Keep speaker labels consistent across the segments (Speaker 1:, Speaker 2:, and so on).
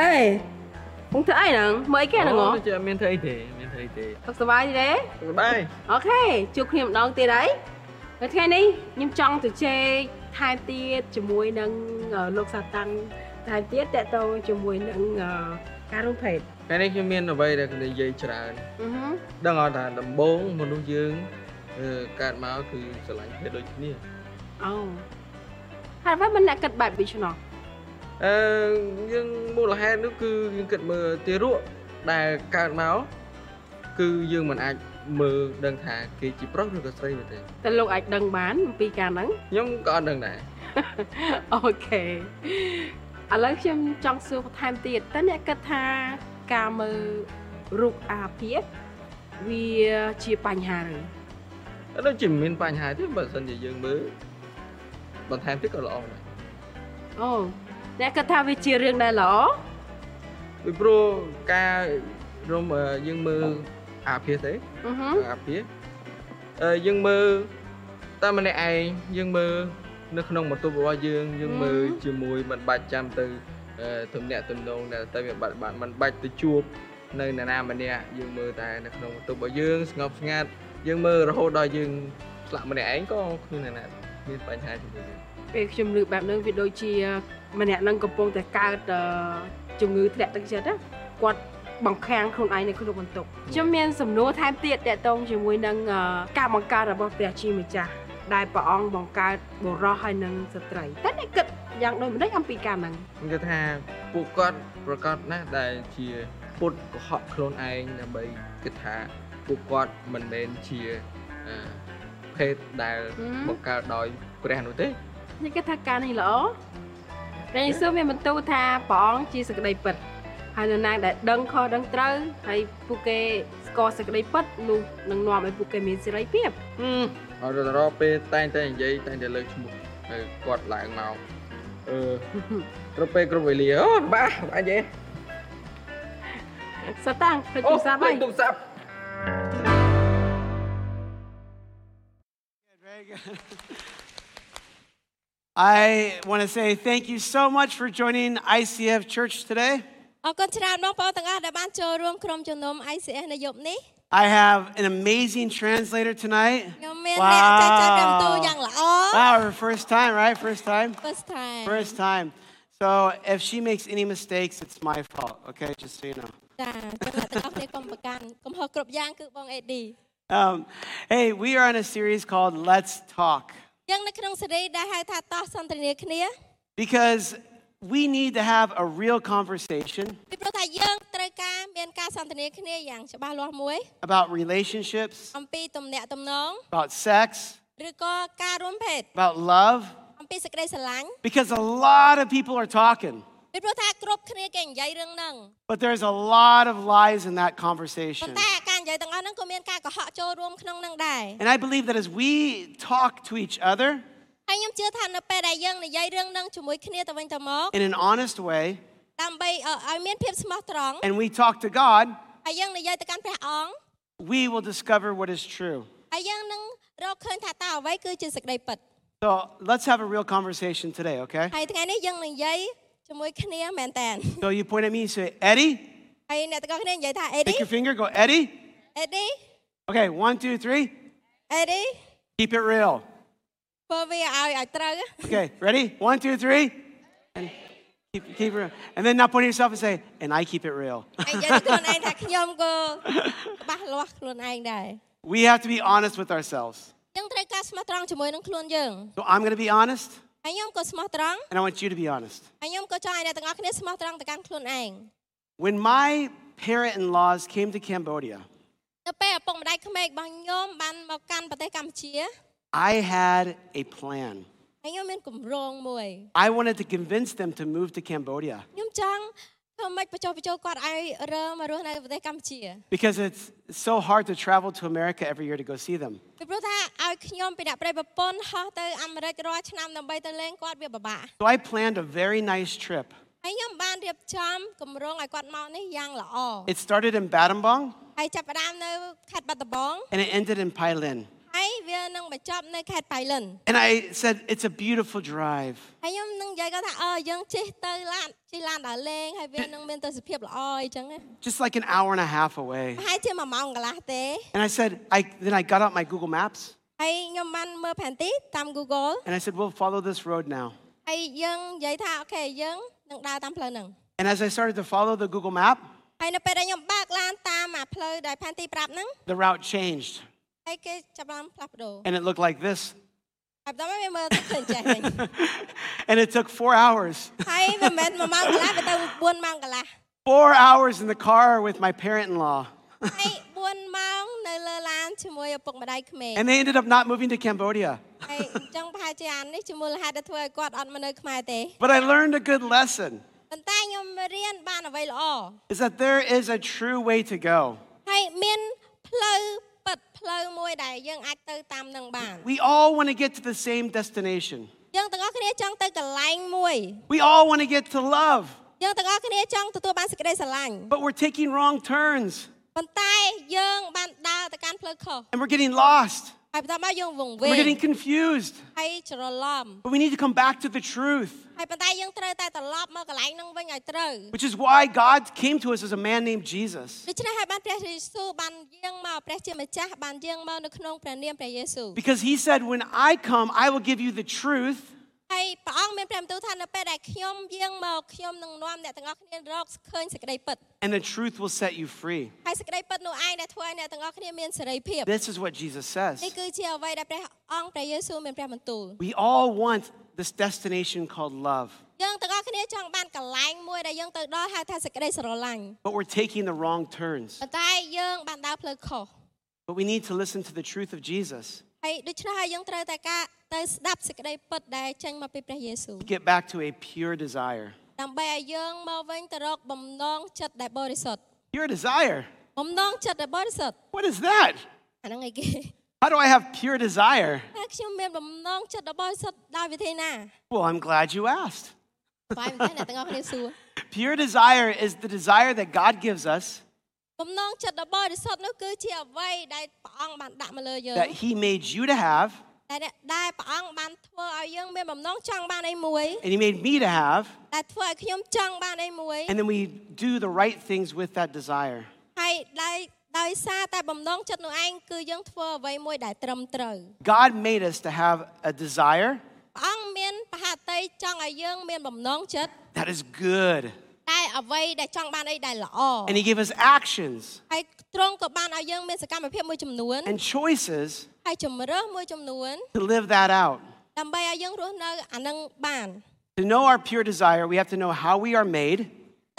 Speaker 1: ហងធ្វើអីហ្នឹងមើលអីគេហ្នឹងហ៎
Speaker 2: អូជិះអត់មានធ្វើអីទេអត់មានធ្វើអីទេ
Speaker 1: សុខសប្បាយទេ
Speaker 2: សុខសប្បាយ
Speaker 1: អូខេជួបគ្នាម្ដងទៀតហើយនៅថ្ងៃនេះខ្ញុំចង់ទៅជែកថែមទៀតជាមួយនឹងអឺលោកសាតាំងថែមទៀតតកតងជាមួយនឹងអឺការរួមភេទ
Speaker 2: ថ្ងៃនេះខ្ញុំមានអ្វីដែលខ្ញុំនិយាយច្រើន
Speaker 1: អឺហឹម
Speaker 2: ដឹងអត់ថាដំបូងមនុស្សយើងអឺកើតមកគឺស្រឡាញ់គ្នាដូចគ្នា
Speaker 1: អូហើយបើមិនអ្នកគិតបែបវិឆ្នោះ
Speaker 2: អឺយើងមូលហេតុនោះគឺយើងគិតមើលទារកដែលកើតមកគឺយើងមិនអាចមើលដឹងថាគេជាប្រុសឬក៏ស្រីនោះទេ
Speaker 1: តើលោកអាចដឹងបានអំពីការហ្នឹង
Speaker 2: ខ្ញុំក៏អត់ដឹងដែរ
Speaker 1: អូខេឥឡូវខ្ញុំចង់សួរបន្ថែមទៀតតើអ្នកគិតថាការមើលរូបអាភាពវាជាបញ្ហាឬ
Speaker 2: អត់ដូចជាមានបញ្ហាទេបើមិនជាយើងមើលបន្ថែមទៀតក៏ល្អដែរ
Speaker 1: អូអ្នកគិតថាវាជារឿងដែលល្អ
Speaker 2: ពីព្រោះការរំអឺយើងមើលអាភាសទេ
Speaker 1: អឺហឹម
Speaker 2: អាភាសអឺយើងមើលតែម្នាក់ឯងយើងមើលនៅក្នុងបន្ទប់របស់យើងយើងមើលជាមួយមិនបាច់ចាំទៅអឺទំនាក់ទំនងដែលទៅវាបាត់បាត់មិនបាច់ទៅជួបនៅនរណាម្នាក់យើងមើលតែនៅក្នុងបន្ទប់របស់យើងស្ងប់ស្ងាត់យើងមើលរហូតដល់យើងឆ្លាក់ម្នាក់ឯងក៏គ្មាននរណាមានបញ្ហាជាមួយយើង
Speaker 1: ពេលខ្ញុំលើកបែបហ្នឹងវាដូចជាម្នាក់ហ្នឹងកំពុងតែកើតអឺជំងឺធ្លាក់ទឹកចិត្តណាគាត់បង្ខាំងខ្លួនឯងនៅក្នុងបន្ទប់ខ្ញុំមានសំណួរថែមទៀតតកតងជាមួយនឹងអឺការបង្កើតរបស់ព្រះជាម្ចាស់ដែលព្រះអង្គបង្កើតបុរសហើយនឹងស្ត្រីតើអ្នកគិតយ៉ាងដូចម្ដេចអំពីការហ្នឹង
Speaker 2: ខ្ញុំគិតថាពួកគាត់ប្រកាសណាស់ដែលជាពុតកុហកខ្លួនឯងដើម្បីគិតថាពួកគាត់មិនមែនជាអឺភេទដែល
Speaker 1: ហឹម
Speaker 2: បង្កើតដោយព្រះនោះទេ
Speaker 1: ខ្ញុំគិតថាការនេះល្អព្រះយេស៊ូវមានបន្ទូលថាព្រះអង្គជាសក្តីពិតហើយនរណាដែលដឹងខុសដឹងត្រូវហើយពួកគេស្គាល់សក្តីពិតនោះនឹងនាំឲ្យពួកគេមានសេរីភាព
Speaker 2: អត់ទៅរកពេលតែងតែនិយាយតែងតែលើកឈ្មោះទៅគាត់ឡើងមកអឺគ្រប់ពេលគ្រប់វេលាអូបាសបាញ់ទេ
Speaker 1: សតាំងទៅទូរស័ព្ទហើយ
Speaker 2: លេខទូរស័ព្ទ
Speaker 3: I want to say thank you so much for joining ICF Church today.
Speaker 4: អរគុណច្រើនបងប្អូនទាំងអស់ដែលបានចូលរួមក្រុមជំនុំ ICS នៅយប់នេះ
Speaker 3: I have an amazing translator tonight.
Speaker 4: ខ្ញុំមានអ្នកចែកចាយកម្មទូលយ៉ាងល្អ
Speaker 3: Wow, her first time, right? First time?
Speaker 4: first time
Speaker 3: First time. So if she makes any mistakes, it's my fault, okay? Just so you know.
Speaker 4: ចាសូមអ្នកទាំងអស់គ្នាកុំប្រកាន់កំហុសគ្រប់យ៉ាងគឺបងអេឌី
Speaker 3: Um, hey, we are in a series called Let's Talk
Speaker 4: យ៉ាងនៅក្នុងសេរីដែលហៅថាតោះសន្ទនាគ្នា
Speaker 3: because we need to have a real conversation
Speaker 4: ពីព្រោះថាយើងត្រូវការមានការសន្ទនាគ្នាយ៉ាងច្បាស់លាស់មួយ
Speaker 3: about relationships,
Speaker 4: អំពីទំនាក់ទំនង
Speaker 3: about sex,
Speaker 4: ឬក៏ការរួមភេទ
Speaker 3: about love,
Speaker 4: អំពីសេចក្តីស្រឡាញ់
Speaker 3: because a lot of people are talking.
Speaker 4: ពីព្រោះថាគ្រប់គ្នាគេនិយាយរឿងហ្នឹង
Speaker 3: But there's a lot of lies in that
Speaker 4: ប៉ុ
Speaker 3: conversation.
Speaker 4: ន្តែការនិយាយទាំងអស់ហ្នឹងក៏មានការកុហកចូលរួមក្នុងហ្នឹងដែរ
Speaker 3: And I believe that as we talk to each other
Speaker 4: ហើយខ្ញុំជឿថានៅពេលដែលយើងនិយាយរឿងហ្នឹងជាមួយគ្នាទៅវិញទៅមក
Speaker 3: in an honest way
Speaker 4: ដើម្បីអឲ្យមានភាពស្មោះត្រង់
Speaker 3: and we talk to God,
Speaker 4: ហើយយើងនិយាយទៅកាន់ព្រះអង្គ
Speaker 3: we will discover what is true.
Speaker 4: ហើយយើងនឹងរកឃើញថាតើអ្វីគឺជាសេចក្តីពិត
Speaker 3: So let's have a real conversation today, okay?
Speaker 4: ហើយថ្ងៃនេះយើងនិយាយជាមួយគ្នាមែនតើ
Speaker 3: So you point at me, you say, Eddie,
Speaker 4: ហើយអ្នកទាំងអស់គ្នានិយាយថាអេឌី
Speaker 3: take your finger, go, Eddie.
Speaker 4: អេឌី
Speaker 3: Okay, one, two, three.
Speaker 4: អេឌី
Speaker 3: Keep it real.
Speaker 4: ធ្វើវាឲ្យឲ្យត្រូវ
Speaker 3: Okay, ready? One, two, three. And keep, keep it real. And then now point at yourself and say, and I keep it real.
Speaker 4: ហើយនិយាយទៅខ្លួនឯងថាខ្ញុំក៏ច្បាស់លាស់ខ្លួនឯងដែរ
Speaker 3: we have to be honest with ourselves.
Speaker 4: យើងត្រូវការស្មោះត្រង់ជាមួយនឹងខ្លួនយើង
Speaker 3: So I'm going to be honest,
Speaker 4: ហើយខ្ញុំក៏ស្មោះត្រង់
Speaker 3: and I want you to be honest.
Speaker 4: ហើយខ្ញុំក៏ចង់ឲ្យអ្នកទាំងអស់គ្នាស្មោះត្រង់ទៅកាន់ខ្លួនឯង
Speaker 3: When my parent in laws came to Cambodia,
Speaker 4: នៅពេលឪពុកម្ដាយក្មេករបស់ខ្ញុំបានមកកាន់ប្រទេសកម្ពុជា
Speaker 3: I had a plan.
Speaker 4: ហើយខ្ញុំមានគម្រោងមួយ
Speaker 3: I wanted to convince them to move to Cambodia
Speaker 4: ខ្ញុំចង់ធ្វើម៉េចបញ្ចុះបញ្ចូលគាត់ឲ្យរើមករស់នៅប្រទេសកម្ពុជា
Speaker 3: because it's so hard to travel to America every year to go see them.
Speaker 4: ពីព្រោះថាឲ្យខ្ញុំពីអ្នកប្រិយប្រពន្ធហោះទៅអាមេរិករាល់ឆ្នាំដើម្បីទៅលេងគាត់វាពិបាក
Speaker 3: So I planned a very nice trip.
Speaker 4: ហើយខ្ញុំបានរៀបចំគម្រោងឲ្យគាត់មកនេះយ៉ាងល្អ
Speaker 3: It started in Battambang
Speaker 4: ហើយចាប់ផ្ដើមនៅខេត្តបាត់ដំបង
Speaker 3: and it ended in Pailin.
Speaker 4: ហើ ឯងវានឹងបញ្ចប់នៅខេត្តបៃលិន
Speaker 3: And I said, It's a beautiful drive.
Speaker 4: ហើយខ្ញុំនឹងនិយាយគាត់ថាអឺយើងជិះទៅឡានជិះឡានដើរលេងហើយវានឹងមានទស្សនភាពល្អអីចឹងណា
Speaker 3: just like an hour and a half away.
Speaker 4: ប្រហែលជា1ម៉ោងកន្លះទេ
Speaker 3: And I said, I, then I got out my Google Maps
Speaker 4: ហើយខ្ញុំបានមើលផែនទីតាម Google
Speaker 3: and I said, we'll follow this road now.
Speaker 4: ហើយយើងនិយាយថាអូខេយើងនឹងដើរតាមផ្លូវហ្នឹង
Speaker 3: And as I started to follow the Google map,
Speaker 4: ហើយនៅពេលដែលខ្ញុំបើកឡានតាមអាផ្លូវដែលផែនទីប្រាប់ហ្នឹង
Speaker 3: the route changed
Speaker 4: ហើយគេចាប់បានផ្លាស់ប្ដូរ
Speaker 3: and it looked like this.
Speaker 4: ហើយបន្តមកវាមើលទៅឃើញចេះ វិញ
Speaker 3: and it took four hours,
Speaker 4: ហើយវាមិនមែន1ម៉ោងក ន្លះវាទៅ4ម៉ោងកន្លះ
Speaker 3: four hours in the car with my parent in law.
Speaker 4: ហើយ4ម៉ោងនៅលើឡានជាមួយឪពុកម្ដាយក្មេង
Speaker 3: And they ended up not moving to Cambodia.
Speaker 4: ហើយអញ្ចឹងប្រហែលជាអាននេះជាមូលហេតុដែលធ្វើឲ្យគាត់អត់មកនៅខ្មែរទេ
Speaker 3: But I learned a good lesson
Speaker 4: ប៉ុន្តែខ្ញុំរៀនបានអ្វីល្អ
Speaker 3: is that there is a true way to go.
Speaker 4: ហើយមានផ្លូវពិតផ្លូវមួយដែលយើងអាចទៅតាមនឹងបាន
Speaker 3: We all want to get to the same destination.
Speaker 4: យើងទាំងអស់គ្នាចង់ទៅកន្លែងមួយ
Speaker 3: We all want to get to love,
Speaker 4: យើងទាំងអស់គ្នាចង់ទទួលបានសេចក្តីស្រឡាញ់
Speaker 3: but we're taking wrong turns
Speaker 4: ប៉ុន្តែយើងបានដើរទៅកាន់ផ្លូវខុស
Speaker 3: and we're getting lost.
Speaker 4: ហើយបន្តមកយើងវង្វេ
Speaker 3: We're
Speaker 4: ង
Speaker 3: getting confused.
Speaker 4: ហើយច្រឡំ
Speaker 3: But we need to come back to the truth,
Speaker 4: ហើយប៉ុន្តែយើងត្រូវតែត្រឡប់មកកន្លែងហ្នឹងវិញឲ្យត្រូវ
Speaker 3: which is why God came to us as a man named Jesus.
Speaker 4: ដូច្នេះហើយបានព្រះយេស៊ូវបានយាងមកព្រះជាម្ចាស់បានយាងមកនៅក្នុងព្រះនាមព្រះយេស៊ូវ
Speaker 3: Because he said, When I come, I will give you the truth
Speaker 4: ហើយព្រះអង្គមានព្រះបន្ទូលថានៅពេលដែលខ្ញុំយាងមកខ្ញុំនឹងនាំអ្នកទាំងអស់គ្នារកឃើញសេចក្តីពិត
Speaker 3: and the truth will set you free.
Speaker 4: ហើយសេចក្តីពិតនោះឯងដែលធ្វើឲ្យអ្នកទាំងអស់គ្នាមានសេរីភាព
Speaker 3: This is what Jesus says.
Speaker 4: នេះគឺជាអ្វីដែលព្រះអង្គព្រះយេស៊ូវមានព្រះបន្ទូល
Speaker 3: We all want this destination called love,
Speaker 4: យើងទាំងអស់គ្នាចង់បានកន្លែងមួយដែលយើងទៅដល់ហៅថាសេចក្តីស្រឡាញ់
Speaker 3: but we're taking the wrong turns.
Speaker 4: ប៉ុន្តែយើងបានដើរផ្លូវខុស
Speaker 3: But we need to listen to the truth of Jesus
Speaker 4: ហើយដូច្នេះហើយយើងត្រូវតែការទៅស្ដាប់សេចក្តីពិតដែលចេញមកពីព្រះយេស៊ូវ
Speaker 3: to get back to a pure desire.
Speaker 4: ដើម្បីឲ្យយើងមកវិញទៅរកបំណងចិត្តដែលបរិសុទ្ធ
Speaker 3: Pure desire?
Speaker 4: បំណងចិត្តដែលបរិសុទ្ធ
Speaker 3: What is that?
Speaker 4: អាហ្នឹងឯងគេ
Speaker 3: How do I have pure desire?
Speaker 4: តែខ្ញុំមានបំណងចិត្តដ៏បរិសុទ្ធដោយវិធីណា
Speaker 3: Well, I'm glad you asked.
Speaker 4: បាយមិនដឹងអ្នកទាំងអស់គ្នាសួរ
Speaker 3: Pure desire is the desire that God gives us
Speaker 4: បំណងចិត្តដ៏បរិសុទ្ធនោះគឺជាអ្វីដែលព្រះអង្គបានដាក់មកលើយើង
Speaker 3: that He made you to have
Speaker 4: ដែលដែលព្រះអង្គបានធ្វើឲ្យយើងមានបំណងចង់បានអីមួយ
Speaker 3: and He made me to have,
Speaker 4: ដែលធ្វើឲ្យខ្ញុំចង់បានអីមួយ
Speaker 3: and then we do the right things with that desire.
Speaker 4: ហើយដោយដោយសារតែបំណងចិត្តនោះឯងគឺយើងធ្វើអ្វីមួយដែលត្រឹមត្រូវ
Speaker 3: God made us to have a desire
Speaker 4: ព្រះអង្គមានបហាតីចង់ឲ្យយើងមានបំណងចិត្ត
Speaker 3: that is good,
Speaker 4: តែអ្វីដែលចង់បានអីដែលល្អ
Speaker 3: and He gave us actions
Speaker 4: ហើយទ្រង់ក៏បានឲ្យយើងមានសកម្មភាពមួយចំនួន
Speaker 3: and choices
Speaker 4: ហើយជំរើសមួយចំនួន
Speaker 3: to live that out.
Speaker 4: ដើម្បីឲ្យយើងរស់នៅអានឹងបាន
Speaker 3: To know our pure desire, we have to know how we are made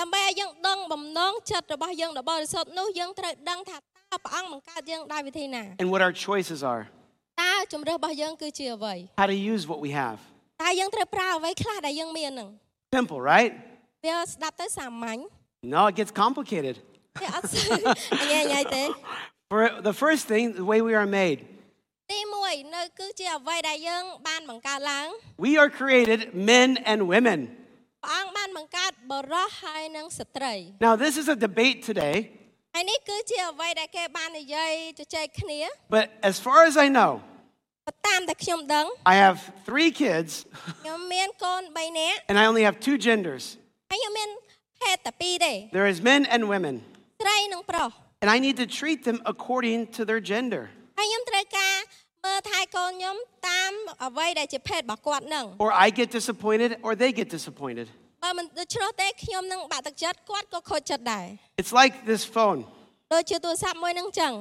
Speaker 4: ដើម្បីឲ្យយើងដឹងបំណងចិត្តរបស់យើងដ៏បរិសុទ្ធនោះយើងត្រូវដឹងថាតើព្រះអង្គបង្កើតយើងដោយវិធីណា
Speaker 3: and what our choices are,
Speaker 4: តើជំរើសរបស់យើងគឺជាអ្វី
Speaker 3: how to use what we have.
Speaker 4: តើយើងត្រូវប្រើអ្វីខ្លះដែលយើងមានហ្នឹង
Speaker 3: Simple, right?
Speaker 4: វាស្ដាប់ទៅសាមញ្ញ
Speaker 3: No, it gets complicated.
Speaker 4: វាអត់សូវ ញ៉ៃញ៉ៃទេ
Speaker 3: For the first thing, the way we are made.
Speaker 4: ទី1នៅគឺជាអ្វីដែលយើងបានបង្កើតឡើង
Speaker 3: We are created men and women.
Speaker 4: ព្រះអង្គបានបង្កើតបរិសហើយនិងស្ត្រី
Speaker 3: Now, this is a debate today,
Speaker 4: ហើយនេះគឺជាអ្វីដែលគេបាននិយាយជជែកគ្នា
Speaker 3: but as far as I know,
Speaker 4: ប៉ុន្តែតាមតែខ្ញុំដឹង
Speaker 3: I have three kids
Speaker 4: ខ្ញុំមានកូន3នាក់
Speaker 3: and I only have two genders.
Speaker 4: ហើយខ្ញុំមានភេទតែពីរទេ
Speaker 3: There is men and women,
Speaker 4: ស្រីនិងប្រុស
Speaker 3: and I need to treat them according to their gender,
Speaker 4: ហើយខ្ញុំត្រូវការមើលថែកូនខ្ញុំតាមអ្វីដែលជាភេទរបស់គាត់នឹង
Speaker 3: or I get disappointed or they get disappointed.
Speaker 4: បើមិនដូច្នោះទេខ្ញុំនឹងបាក់ទឹកចិត្តគាត់ក៏ខូចចិត្តដែរ
Speaker 3: It's like this phone.
Speaker 4: ដូចជាទូរស័ព្ទមួយនឹងចឹង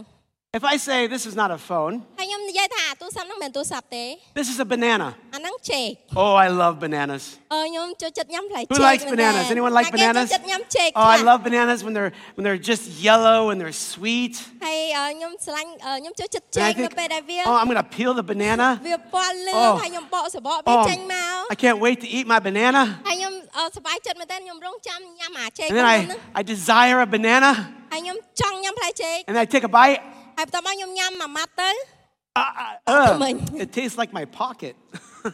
Speaker 3: If I say this is not a phone,
Speaker 4: ហើយខ្ញុំនិយាយថាទូរស័ព្ទហ្នឹងមិនមែនទូរស័ព្ទទេ
Speaker 3: this is a banana.
Speaker 4: អាហ្នឹងចេក
Speaker 3: Oh, I love bananas.
Speaker 4: អឺខ្ញុំចូលចិត្តញ៉ាំផ្លែចេក
Speaker 3: Who likes
Speaker 4: មែនដែរ
Speaker 3: bananas? Anyone like
Speaker 4: តែគេចូល
Speaker 3: bananas?
Speaker 4: ចិត្តញ៉ាំចេក
Speaker 3: Oh, I
Speaker 4: ខ្លះ
Speaker 3: love bananas when they're when they're just yellow and they're sweet.
Speaker 4: ហើយអឺខ្ញុំស្រឡាញ់អឺខ្ញុំចូលចិត្តចេ
Speaker 3: And
Speaker 4: ក
Speaker 3: I
Speaker 4: នៅ
Speaker 3: think,
Speaker 4: ពេលដែលវា
Speaker 3: oh, I'm gonna peel the banana.
Speaker 4: វាពណ៌លឿង
Speaker 3: Oh.
Speaker 4: ហើយខ្ញុំបកសបកវា
Speaker 3: Oh,
Speaker 4: ចេញមក
Speaker 3: I can't wait to eat my banana.
Speaker 4: ហើយខ្ញុំអឺសប្បាយចិត្តមែនតើខ្ញុំរងចាំញ៉ាំអាចេក
Speaker 3: And then
Speaker 4: របស់ខ្ញុំ
Speaker 3: I, I desire a banana,
Speaker 4: ហ្នឹងហើយខ្ញុំចង់ញ៉ាំផ្លែចេក
Speaker 3: and I take a bite.
Speaker 4: ហើយបន្តមកខ្ញុំញ៉ាំមួយម៉ាត់ទៅ
Speaker 3: Uh, uh, ugh,
Speaker 4: Oh, Come on.
Speaker 3: it tastes like my pocket.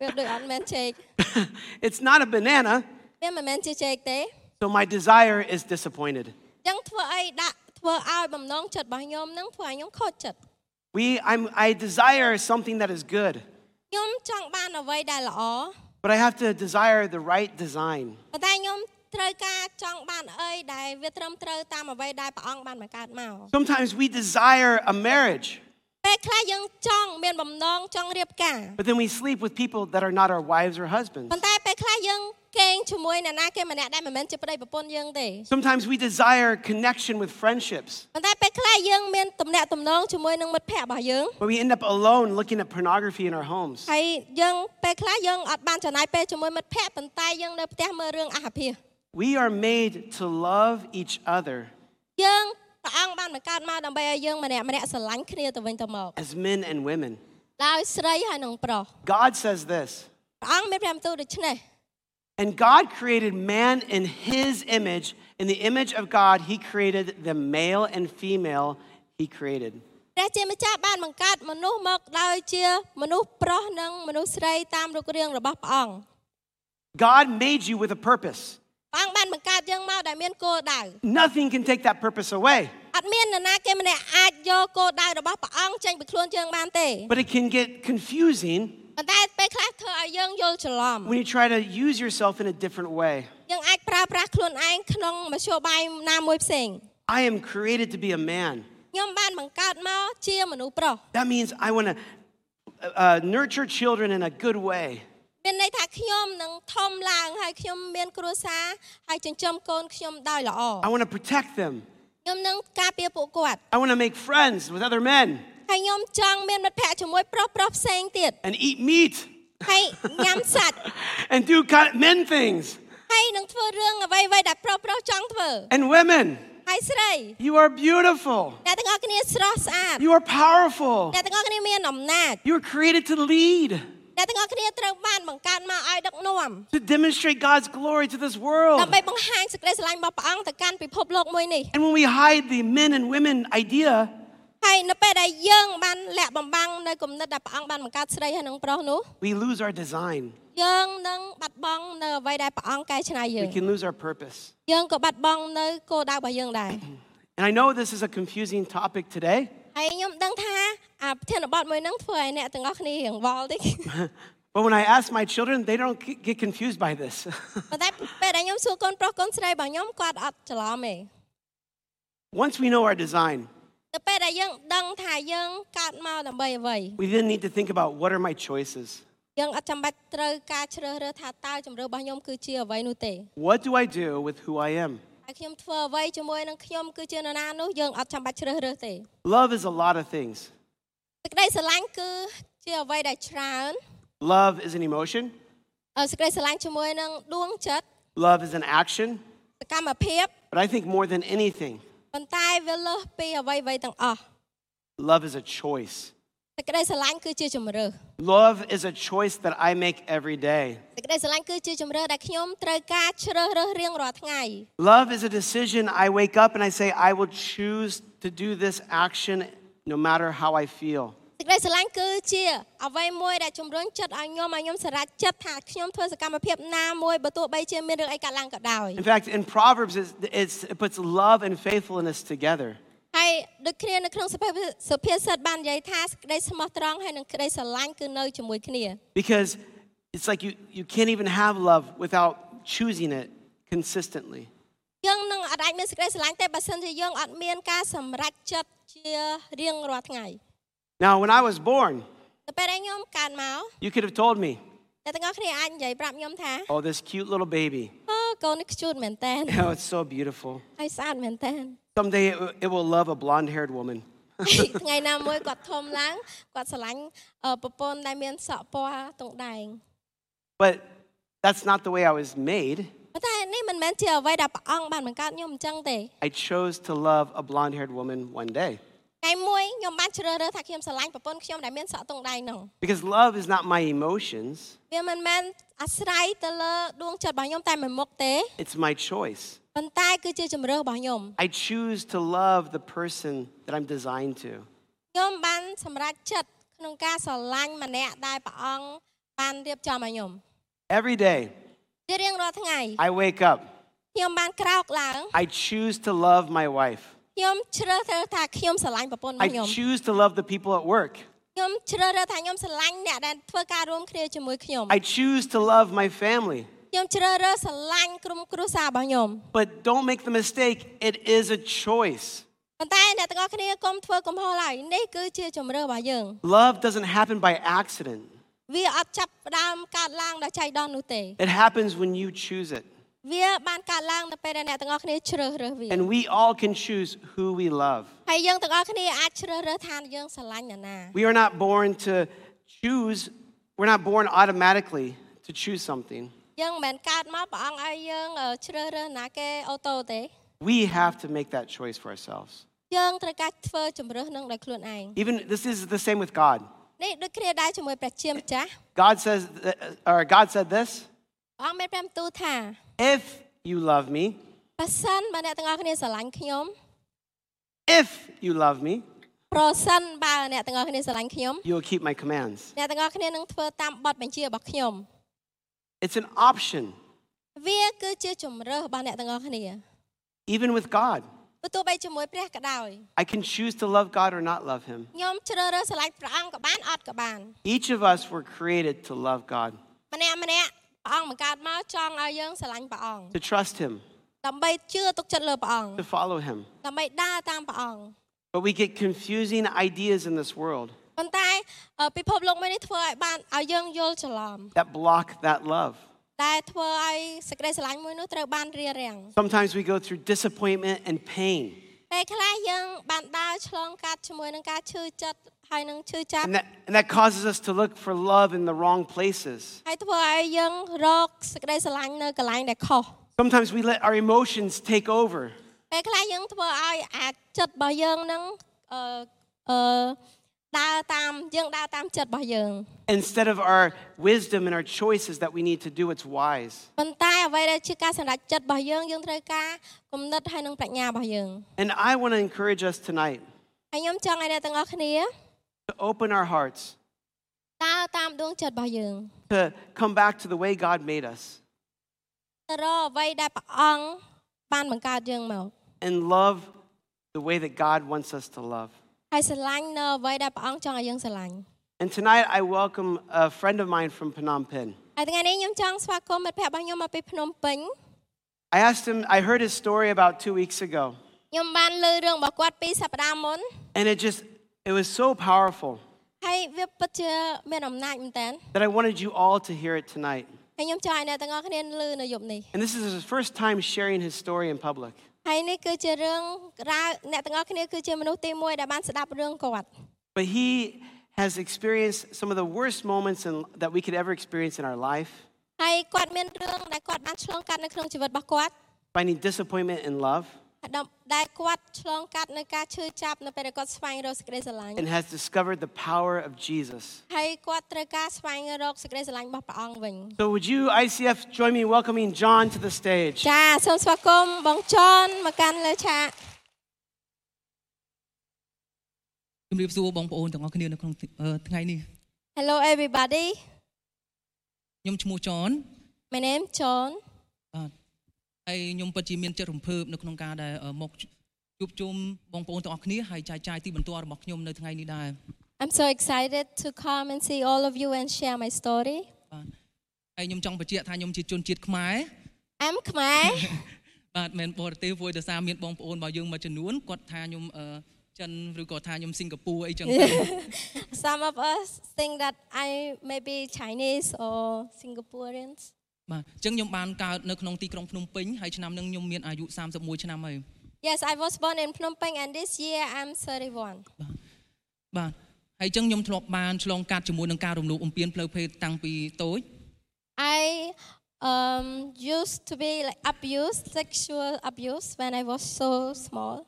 Speaker 4: វាដូចអត់មែនចេក
Speaker 3: it's not a banana,
Speaker 4: វាមិនមែនជាចេកទេ
Speaker 3: so my desire is disappointed.
Speaker 4: អញ្ចឹងធ្វើអីដាក់ធ្វើឲ្យបំណងចិត្តរបស់ខ្ញុំនឹងធ្វើឲ្យខ្ញុំខូចចិត្ត
Speaker 3: We, I'm, I desire something that is good,
Speaker 4: ខ្ញុំចង់បានអ្វីដែលល្អ
Speaker 3: but I have to desire the right design.
Speaker 4: ប៉ុន្តែខ្ញុំត្រូវការចង់បានអីដែលវាត្រឹមត្រូវតាមអ្វីដែលព្រះអង្គបានបង្កើតមក
Speaker 3: Sometimes we desire a marriage,
Speaker 4: ពេលខ្លះយើងចង់មានបំណងចង់រៀបការ
Speaker 3: but then we sleep with people that are not our wives or husbands.
Speaker 4: ប៉ុន្តែពេលខ្លះយើងកេងជាមួយអ្នកណាគេម្នាក់ដែលមិនមែនជាប្តីប្រពន្ធយើងទេ
Speaker 3: Sometimes we desire connection with friendships,
Speaker 4: ប៉ុន្តែពេលខ្លះយើងមានទំនាក់ទំនងជាមួយនឹងមិត្តភ័ក្តិរបស់យើង
Speaker 3: but we end up alone looking at pornography in our homes.
Speaker 4: ហើយយើងពេលខ្លះយើងអត់បានចំណាយពេលជាមួយមិត្តភ័ក្តិប៉ុន្តែយើងនៅផ្ទះមើលរឿងអាហភាស
Speaker 3: We are made to love each other
Speaker 4: យើងព្រះអង្គបានបង្កើតមកដើម្បីឲ្យយើងម្នាក់ម្នាក់ស្រឡាញ់គ្នាទៅវិញទៅមក
Speaker 3: as men and women.
Speaker 4: ដោយស្រីហើយនឹងប្រុស
Speaker 3: God says this,
Speaker 4: ព្រះអង្គមានព្រះបន្ទូលដូច្នេះ
Speaker 3: and God created man in his image. In the image of God, he created the male and female he created.
Speaker 4: ព្រះជាម្ចាស់បានបង្កើតមនុស្សមកដោយជាមនុស្សប្រុសនិងមនុស្សស្រីតាមរូបរាងរបស់ព្រះអង្គ
Speaker 3: God made you with a purpose.
Speaker 4: ព្រះអង្គបានបង្កើតយើងមកដែលមានគោលដៅ
Speaker 3: Nothing can take that purpose away,
Speaker 4: អត់មាននរណាគេម្នាក់អាចយកគោលដៅរបស់ព្រះអង្គចេញពីខ្លួនយើងបានទេ
Speaker 3: but it can get confusing
Speaker 4: ប៉ុន្តែពេលខ្លះធ្វើឲ្យយើងយល់ច្រឡំ
Speaker 3: when you try to use yourself in a different way.
Speaker 4: យើងអាចប្រើប្រាស់ខ្លួនឯងក្នុងមធ្យោបាយណាមួយផ្សេង
Speaker 3: I am created to be a man.
Speaker 4: ខ្ញុំបានបង្កើតមកជាមនុស្សប្រុស
Speaker 3: That means I want to uh, nurture children in a good way.
Speaker 4: មានន័យថាខ្ញុំនឹងធំឡើងហើយខ្ញុំមានគ្រួសារហើយចិញ្ចឹមកូនខ្ញុំដោយល្អ
Speaker 3: I want to protect them.
Speaker 4: ខ្ញុំនឹងការពារពួកគាត់
Speaker 3: I want to make friends with other men
Speaker 4: ហើយខ្ញុំចង់មានមិត្តភ័ក្តិជាមួយប្រុសប្រុសៗផ្សេងទៀត
Speaker 3: and eat meat
Speaker 4: ហើយញ៉ាំសាច់
Speaker 3: and do kind of men things.
Speaker 4: ហើយនឹងធ្វើរឿងអ្វីៗដែលប្រុសប្រុសៗចង់ធ្វើ
Speaker 3: And women,
Speaker 4: ហើយស្រី
Speaker 3: you are beautiful.
Speaker 4: អ្នកទាំងអស់គ្នាស្រស់ស្អាត
Speaker 3: You are powerful.
Speaker 4: អ្នកទាំងអស់គ្នាមានអំណាច
Speaker 3: You were created to lead,
Speaker 4: អ្នកទាំងអស់គ្នាត្រូវបានបង្កើតមកឲ្យដឹកនាំ
Speaker 3: to demonstrate God's glory to this world.
Speaker 4: ដើម្បីបង្ហាញសេចក្តីស្រឡាញ់របស់ព្រះអង្គទៅកាន់ពិភពលោកមួយនេះ
Speaker 3: And when we hide the men and women idea,
Speaker 4: ហើយនៅពេលដែលយើងបានលាក់បំបាំងនៅគំនិតដែលព្រះអង្គបានបង្កើតស្រីហើយនឹងប្រុសនោះ
Speaker 3: we lose our design.
Speaker 4: យើងនឹងបាត់បង់នៅអ្វីដែលព្រះអង្គកែច្នៃយើង
Speaker 3: We can lose our purpose.
Speaker 4: យើងក៏បាត់បង់នៅគោលដៅរបស់យើងដែរ
Speaker 3: And I know this is a confusing topic today,
Speaker 4: ហើយខ្ញុំដឹងថាអាប្រធានបទមួយហ្នឹងធ្វើឲ្យអ្នកទាំងអស់គ្នារៀងវល់តិច
Speaker 3: but when I ask my children, they don't g- get confused by this.
Speaker 4: ប៉ុន្តែពេលដែលខ្ញុំសួរកូនប្រុសកូនស្រីរបស់ខ្ញុំគាត់អត់ច្រឡំទេ
Speaker 3: Once we know our design,
Speaker 4: ទៅពេលដែលយើងដឹងថាយើងកើតមកដើម្បីអ្វី
Speaker 3: we then need to think about what are my choices?
Speaker 4: យើងអត់ចាំបាច់ត្រូវការជ្រើសរើសថាតើជំរឿរបស់ខ្ញុំគឺជាអ្វីនោះទេ
Speaker 3: What do I do with who I am?
Speaker 4: ហើយខ្ញុំធ្វើអ្វីជាមួយនឹងខ្ញុំគឺជានរណានោះយើងអត់ចាំបាច់ជ្រើសរើសទេ
Speaker 3: Love is a lot of things.
Speaker 4: សេចក្តីស្រឡាញ់គឺជាអ្វីដែលច្រើន
Speaker 3: Love is an emotion,
Speaker 4: អឺសេចក្តីស្រឡាញ់ជាមួយនឹងដួងចិត្ត
Speaker 3: love is an action,
Speaker 4: សកម្មភាព
Speaker 3: but I think more than anything,
Speaker 4: ប៉ុន្តែវាលើសពីអ្វីអ្វីទាំងអស់
Speaker 3: love is a choice.
Speaker 4: សេចក្តីស្រឡាញ់គឺជាជំរឿ
Speaker 3: Love is a choice that I make every day.
Speaker 4: សេចក្តីស្រឡាញ់គឺជាជំរឿដែលខ្ញុំត្រូវការជ្រើសរើសរៀងរាល់ថ្ងៃ
Speaker 3: Love is a decision I wake up and I say, I will choose to do this action no matter how I feel.
Speaker 4: សេចក្តីស្រឡាញ់គឺជាអ្វីមួយដែលជំរុញចិត្តឲ្យខ្ញុំឲ្យខ្ញុំសម្រេចចិត្តថាខ្ញុំធ្វើសកម្មភាពណាមួយបើទោះបីជាមានរឿងអីកើតឡើងក៏ដោយ
Speaker 3: In fact, in Proverbs, it's, it's, it puts love and faithfulness together.
Speaker 4: ហើយដូចគ្នានៅក្នុងសុភាសុភាសិតបាននិយាយថាសេចក្តីស្មោះត្រង់ហើយនឹងក្តីស្រឡាញ់គឺនៅជាមួយគ្នា
Speaker 3: Because it's like you, you can't even have love without choosing it consistently.
Speaker 4: យើងនឹងអត់អាចមានសេចក្តីស្រឡាញ់ទេបើសិនជាយើងអត់មានការសម្រេចចិត្តជារៀងរាល់ថ្ងៃ
Speaker 3: Now, when I was born,
Speaker 4: ទៅពេលដែលខ្ញុំកើតមក
Speaker 3: you could have told me,
Speaker 4: អ្នកទាំងអស់គ្នាអាចនិយាយប្រាប់ខ្ញុំថា
Speaker 3: oh, this cute little baby.
Speaker 4: អូកូននេះខ្ជូតមែនតើ
Speaker 3: Oh, it's so beautiful.
Speaker 4: ហើយស្អាតមែនតើ
Speaker 3: Someday it, w- it will love a blonde haired woman.
Speaker 4: ថ្ងៃណាមួយគាត់ធំឡើងគាត់ស្រឡាញ់អឺប្រពន្ធដែលមានសក់ពណ៌ទង់ដែង
Speaker 3: But that's not the way I was made.
Speaker 4: ប៉ុន្តែនេះមិនមែនជាអ្វីដែលព្រះអង្គបានបង្កើតខ្ញុំអញ្ចឹងទេ
Speaker 3: I chose to love a blonde haired woman one day.
Speaker 4: ថ្ងៃមួយខ្ញុំបានជ្រើសរើសថាខ្ញុំស្រឡាញ់ប្រពន្ធខ្ញុំដែលមានសក់ទង់ដែងហ្នឹង
Speaker 3: Because love is not my emotions,
Speaker 4: វាមិនមែនអាស្រ័យទៅលើដួងចិត្តរបស់ខ្ញុំតែមួយមុខទេ
Speaker 3: it's my choice.
Speaker 4: ប៉ុន្តែគឺជាជំរើសរបស់ខ្ញុំ
Speaker 3: I choose to love the person that I'm designed to.
Speaker 4: ខ្ញុំបានសម្រេចចិត្តក្នុងការស្រឡាញ់ម្នាក់ដែលព្រះអង្គបានរៀបចំឲ្យខ្ញុំ
Speaker 3: Every day,
Speaker 4: ជារៀងរាល់ថ្ងៃ
Speaker 3: I wake up,
Speaker 4: ខ្ញុំបានក្រោកឡើង
Speaker 3: I choose to love my wife.
Speaker 4: ខ្ញុំជ្រើសរើសថាខ្ញុំស្រឡាញ់ប្រពន្ធរបស់
Speaker 3: I
Speaker 4: ខ្ញុំ
Speaker 3: choose to love the people at work.
Speaker 4: ខ្ញុំជ្រើសរើសថាខ្ញុំស្រឡាញ់អ្នកដែលធ្វើការរួមគ្នាជាមួយខ្ញុំ
Speaker 3: I choose to love my family.
Speaker 4: ខ្ញុំជ្រើសរើសស្រឡាញ់ក្រុមគ្រួសាររបស់ខ្ញុំ
Speaker 3: But don't make the mistake, it is a choice.
Speaker 4: ប៉ុន្តែអ្នកទាំងអស់គ្នាកុំធ្វើកំហុសឡើយនេះគឺជាជំរឿរបស់យើង
Speaker 3: Love doesn't happen by accident,
Speaker 4: វាអត់ចាប់ផ្ដើមកើតឡើងដោយចៃដន្យនោះទេ
Speaker 3: it happens when you choose it.
Speaker 4: វាបានកើតឡើងនៅពេលដែលអ្នកទាំងអស់គ្នាជ្រើសរើសវា
Speaker 3: And we all can choose who we love.
Speaker 4: ហើយយើងទាំងអស់គ្នាអាចជ្រើសរើសថាយើងស្រឡាញ់អ្នកណា
Speaker 3: We are not born to choose, we're not born automatically to choose something.
Speaker 4: យើងមិនមែនកើតមកព្រះអង្គឲ្យយើងអឺជ្រើសរើសណាគេអូតូទេ
Speaker 3: We have to make that choice for ourselves.
Speaker 4: យើងត្រូវការធ្វើជំរឿសនឹងដោយខ្លួនឯង
Speaker 3: Even this is the same with God.
Speaker 4: នេះដូចគ្នាដែរជាមួយព្រះជាម្ចាស់
Speaker 3: God says, th- uh, or God said this:
Speaker 4: ព្រះអង្គមានព្រះបន្ទូលថា
Speaker 3: If you love me,
Speaker 4: បើសិនបើអ្នកទាំងអស់គ្នាស្រឡាញ់ខ្ញុំ
Speaker 3: if you love me,
Speaker 4: ប្រសិនបើអ្នកទាំងអស់គ្នាស្រឡាញ់ខ្ញុំ
Speaker 3: you will keep my commands.
Speaker 4: អ្នកទាំងអស់គ្នានឹងធ្វើតាមបទបញ្ជារបស់ខ្ញុំ
Speaker 3: It's an option,
Speaker 4: វាគឺជាជំរឿសរបស់អ្នកទាំងអស់គ្នា
Speaker 3: even with God.
Speaker 4: បើទោះបីជាមួយព្រះក៏ដោយ
Speaker 3: I can choose to love God or not love Him.
Speaker 4: ខ្ញុំជ្រើសរើសស្រឡាញ់ព្រះអង្គក៏បានអត់ក៏បាន
Speaker 3: Each of us were created to love God,
Speaker 4: ម្នាក់ម្នាក់ព្រះអង្គបង្កើតមកចង់ឲ្យយើងស្រឡាញ់ព្រះអង្គ
Speaker 3: to trust Him,
Speaker 4: ដើម្បីជឿទុកចិត្តលើព្រះអង្គ
Speaker 3: to follow Him.
Speaker 4: ដើម្បីដើរតាមព្រះអង្គ
Speaker 3: But we get confusing ideas in this world
Speaker 4: ប៉ុន្តែអឺពិភពលោកមួយនេះធ្វើឲ្យបានឲ្យយើងយល់ច្រឡំ
Speaker 3: that block that love.
Speaker 4: ដែលធ្វើឲ្យសេចក្តីស្រឡាញ់មួយនោះត្រូវបានរារាំង
Speaker 3: Sometimes we go through disappointment and pain,
Speaker 4: ពេលខ្លះយើងបានដើរឆ្លងកាត់ជាមួយនឹងការឈឺចិត្តហើយនឹងឈឺចាប់
Speaker 3: and that, and that causes us to look for love in the wrong places.
Speaker 4: ហើយធ្វើឲ្យយើងរកសេចក្តីស្រឡាញ់នៅកន្លែងដែលខុស
Speaker 3: Sometimes we let our emotions take over.
Speaker 4: ពេលខ្លះយើងធ្វើឲ្យអាចិត្តរបស់យើងនឹងអឺអឺដើរតាមយើងដើរតាមចិត្តរបស់យើង
Speaker 3: instead of our wisdom and our choices that we need to do what's wise.
Speaker 4: ប៉ុន្តែអ្វីដែលជាការសម្រេចចិត្តរបស់យើងយើងត្រូវការគំនិតហើយនឹងប្រាជ្ញារបស់យើង
Speaker 3: And I want to encourage us tonight
Speaker 4: ហើយខ្ញុំចង់ឲ្យអ្នកទាំងអស់គ្នា
Speaker 3: to open our hearts,
Speaker 4: ដើរតាមដួងចិត្តរបស់យើង
Speaker 3: to come back to the way God made us,
Speaker 4: ទៅរកអ្វីដែលព្រះអង្គបានបង្កើតយើងមក
Speaker 3: and love the way that God wants us to love.
Speaker 4: ហើយស្រឡាញ់នៅអ្វីដែលព្រះអង្គចង់ឲ្យយើងស្រឡាញ់
Speaker 3: And tonight, I welcome a friend of mine from Phnom Penh.
Speaker 4: ហើយថ្ងៃនេះខ្ញុំចង់ស្វាគមន៍មិត្តភក្តិរបស់ខ្ញុំមកពីភ្នំពេញ
Speaker 3: I asked him, I heard his story about two weeks ago,
Speaker 4: ខ្ញុំបានលើរឿងរបស់គាត់ពីសប្តាហ៍មុន
Speaker 3: and it just, it was so powerful
Speaker 4: ហើយវាពិតជាមានអំណាចមែនតើ
Speaker 3: that I wanted you all to hear it tonight.
Speaker 4: ហើយខ្ញុំចង់ឲ្យអ្នកទាំងអស់គ្នាលើនៅយប់នេះ
Speaker 3: And this is his first time sharing his story in public.
Speaker 4: ហើយនេះគឺជារឿងរ៉ាវអ្នកទាំងអស់គ្នាគឺជាមនុស្សទីមួយដែលបានស្ដាប់រឿងគាត់
Speaker 3: But he has experienced some of the worst moments in, that we could ever experience in our life,
Speaker 4: ហើយគាត់មានរឿងដែលគាត់បានឆ្លងកាត់នៅក្នុងជីវិតរបស់គាត់
Speaker 3: finding disappointment in love,
Speaker 4: ដែលគាត់ឆ្លងកាត់នៅការឈឺចាប់នៅពេលដែលគាត់ស្វែងរកសេចក្តីស្រឡាញ់
Speaker 3: and has discovered the power of Jesus.
Speaker 4: ហើយគាត់ត្រូវការស្វែងរកសេចក្តីស្រឡាញ់របស់ព្រះអង្គវិញ
Speaker 3: So, would you, ICF, join me in welcoming John to the stage?
Speaker 4: ចាសូមស្វាគមន៍បងចនមកកាន់លើឆាក
Speaker 5: ជំរាបសួរបងប្អូនទាំងអស់គ្នានៅក្នុងអឺថ្ងៃនេះ
Speaker 4: Hello everybody
Speaker 5: ខ្ញុំឈ្មោះចន
Speaker 4: my name John
Speaker 5: បាទហើយខ្ញុំពិតជាមានចិត្តរំភើបនៅក្នុងការដែលអឺមកជួបជុំបងប្អូនទាំងអស់គ្នាហើយចែកចាយទីបន្ទាល់របស់ខ្ញុំនៅថ្ងៃនេះដែរ
Speaker 4: I'm so excited to come and see all of you and share my story
Speaker 5: បាទហើយខ្ញុំចង់បញ្ជាក់ថាខ្ញុំជាជនជាតិខ្មែរ
Speaker 4: I'm Khmer
Speaker 5: បាទមិនបរទេសព្រោះដោយសារមានបងប្អូនរបស់យើងមួយចំនួនគាត់ថាខ្ញុំអឺចិនឬក៏ថាខ្ញុំសិង្ហបុរីអីចឹងទៅ
Speaker 4: Some of us think that I may be Chinese or Singaporeans
Speaker 5: បាទអញ្ចឹងខ្ញុំបានកើតនៅក្នុងទីក្រុងភ្នំពេញហើយឆ្នាំហ្នឹងខ្ញុំមានអាយុ31ឆ្នាំហើយ
Speaker 4: Yes I was born in Phnom Penh and this year I'm 31
Speaker 5: បាទហើយអញ្ចឹងខ្ញុំធ្លាប់បានឆ្លងកាត់ជាមួយនឹងការរំលោភបំពានផ្លូវភេទតាំងពីតូច
Speaker 4: I um, used to be like abused, sexual abuse when I was so small.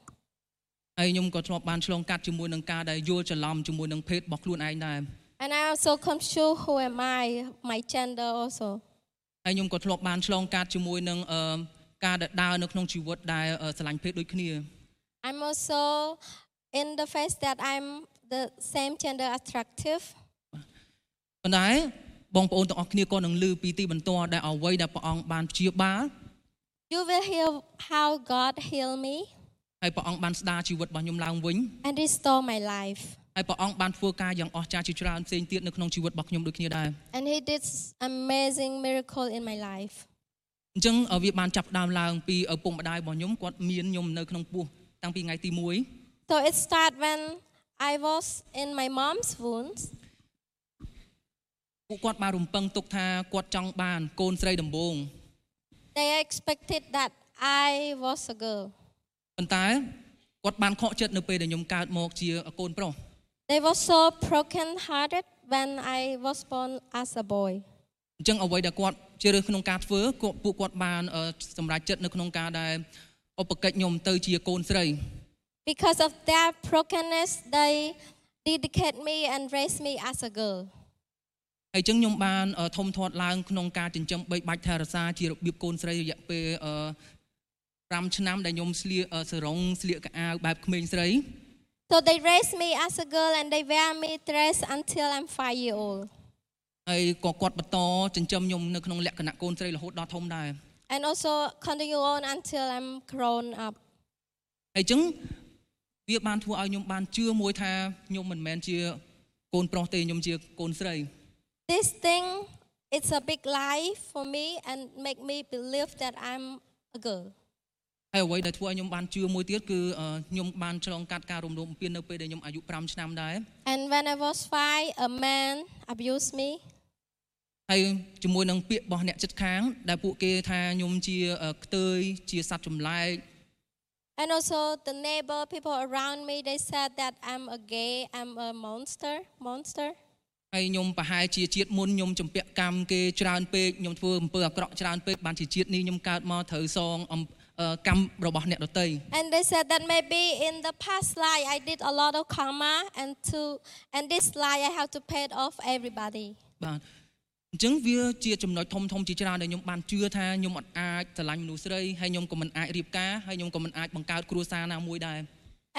Speaker 5: ហើយខ្ញុំក៏ធ្លាប់បានឆ្លងកាត់ជាមួយនឹងការដែលយល់ច្រឡំជាមួយនឹងភេទរបស់ខ្លួនឯងដែរ
Speaker 4: And I also confused who am I, my gender also.
Speaker 5: ហើយខ្ញុំក៏ធ្លាប់បានឆ្លងកាត់ជាមួយនឹងអឺការដែលដើរនៅក្នុងជីវិតដែលអឺស្រឡាញ់ភេទដូចគ្នា
Speaker 4: I'm also in the phase that I'm the same gender attractive.
Speaker 5: ប៉ុន្តែបងប្អូនទាំងអស់គ្នាក៏នឹងលើពីទីបន្ទាល់ដែលអ្វីដែលព្រះអង្គបានព្យាបាល
Speaker 4: You will hear how God healed me.
Speaker 5: ហើយព្រះអង្គបានស្ដារជីវិតរបស់ខ្ញុំឡើងវិញ
Speaker 4: and restore my life.
Speaker 5: ហើយព្រះអង្គបានធ្វើការយ៉ាងអស្ចារ្យជាច្រើនផ្សេងទៀតនៅក្នុងជីវិតរបស់ខ្ញុំដូចគ្នាដែរ
Speaker 4: And he did s- amazing miracle in my life.
Speaker 5: អញ្ចឹងអ่ะវាបានចាប់ផ្ដើមឡើងពីឪពុកម្ដាយរបស់ខ្ញុំគាត់មានខ្ញុំនៅក្នុងពោះតាំងពីថ្ងៃទី1
Speaker 4: So it started when I was in my mom's wounds.
Speaker 5: ពួកគាត់បានរំពឹងទុកថាគាត់ចង់បានកូនស្រីដំបូង
Speaker 4: They expected that I was a girl.
Speaker 5: ប៉ុន្តែគាត់បានខកចិត្តនៅពេលដែលខ្ញុំកើតមកជាកូនប្រុស
Speaker 4: They were so broken hearted when I was born as a boy.
Speaker 5: អញ្ចឹងអ្វីដែលគាត់ជ្រើសក្នុងការធ្វើគាត់ពួកគាត់បានអឺសម្រេចចិត្តនៅក្នុងការដែលឧបកិច្ចខ្ញុំទៅជាកូនស្រី
Speaker 4: Because of their brokenness, they dedicate me and raised me as a girl.
Speaker 5: ហើយអញ្ចឹងខ្ញុំបានអឺធំធាត់ឡើងក្នុងការចិញ្ចឹមបីបាច់ថែរក្សាជារបៀបកូនស្រីរយៈពេលអឺ5ឆ្នាំដែលខ្ញុំស្លៀកអឺសរងស្លៀកកៅអៅបែបក្មេងស្រី
Speaker 4: So they raised me as a girl and they wear me dress until I'm five year old.
Speaker 5: ហើយក៏គាត់បន្តចិញ្ចឹមខ្ញុំនៅក្នុងលក្ខណៈកូនស្រីរហូតដល់ធំដែរ
Speaker 4: And also continue on until I'm grown up.
Speaker 5: ហើយអញ្ចឹងវាបានធ្វើឲ្យខ្ញុំបានជឿមួយថាខ្ញុំមិនមែនជាកូនប្រុសទេខ្ញុំជាកូនស្រី
Speaker 4: This thing, it's a big lie for me and make me believe that I'm a girl.
Speaker 5: ហើយអ្វីដែលធ្វើឲ្យខ្ញុំបានជឿមួយទៀតគឺអឺខ្ញុំបានឆ្លងកាត់ការរំលោភបំពាននៅពេលដែលខ្ញុំអាយុ5ឆ្នាំដែរ
Speaker 4: And when I was five, a man abused me.
Speaker 5: ហើយជាមួយនឹងពាក្យរបស់អ្នកចិត្តខាង ដែលពួកគេថាខ្ញុំជាអឺខ្ទើយជាសត្វចម្លែក
Speaker 4: And also the neighbor, people around me, they said that I'm a gay, I'm a monster, monster.
Speaker 5: ហើយខ្ញុំប្រហែលជាជាតិមុនខ្ញុំចំពាក់កម្មគេច្រើនពេកខ្ញុំធ្វើអំពើអាក្រក់ច្រើនពេកបានជាជាតិនេះខ្ញុំកើតមកត្រូវសងអំអឺកម្មរបស់អ្នកដទៃ
Speaker 4: And they said that maybe in the past life I did a lot of karma and to and this life I have to pay it off everybody.
Speaker 5: បាទអញ្ចឹងវាជាចំណុចធំធំជាច្រើនដែលខ្ញុំបានជឿថាខ្ញុំអត់អាចឆ្លាញ់មនុស្សស្រីហើយខ្ញុំក៏មិនអាចរៀបការហើយខ្ញុំក៏មិនអាចបង្កើតគ្រួសារណាមួយដែរ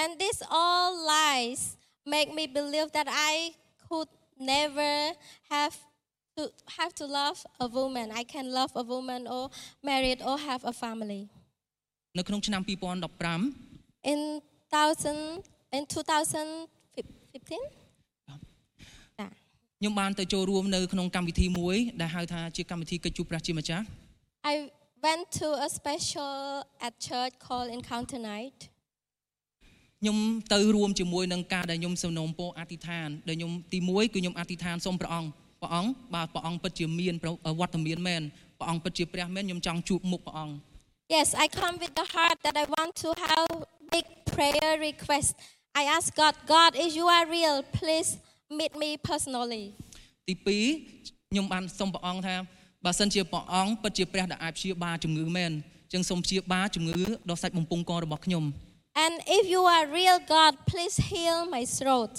Speaker 4: And these all lies make me believe that I could never have to have to love a woman. I can love a woman or married or have a family.
Speaker 5: នៅក្នុងឆ្នាំ2015
Speaker 4: In thousand in 2015. Yeah.
Speaker 5: ខ្ញុំបានទៅចូលរួមនៅក្នុងកម្មវិធីមួយដែលហៅថាជាកម្មវិធីកិច្ចជួបព្រះជាម្ចាស់
Speaker 4: I went to a special at church called Encounter Night.
Speaker 5: ខ្ញុំទៅរួមជាមួយនឹងការដែលខ្ញុំសំណូមពរអធិដ្ឋានដែលខ្ញុំទី1គឺខ្ញុំអធិដ្ឋានសូមព្រះអង្គព្រះអង្គបើព្រះអង្គពិតជាមានប្រវត្តិមានមែនព្រះអង្គពិតជាព្រះមែនខ្ញុំចង់ជួបមុខព្រះអង្គ
Speaker 4: Yes, I come with the heart that I want to have big prayer request. I ask God, God, if you are real, please meet me personally.
Speaker 5: ទី2ខ្ញុំបានសូមព្រះអង្គថាបើសិនជាព្រះអង្គពិតជាព្រះដែលអាចព្យាបាលជំងឺមែនអញ្ចឹងសូមព្យាបាលជំងឺដល់សាច់បំពង់ករបស់ខ្ញុំ
Speaker 4: And if you are real, God, please heal my throat.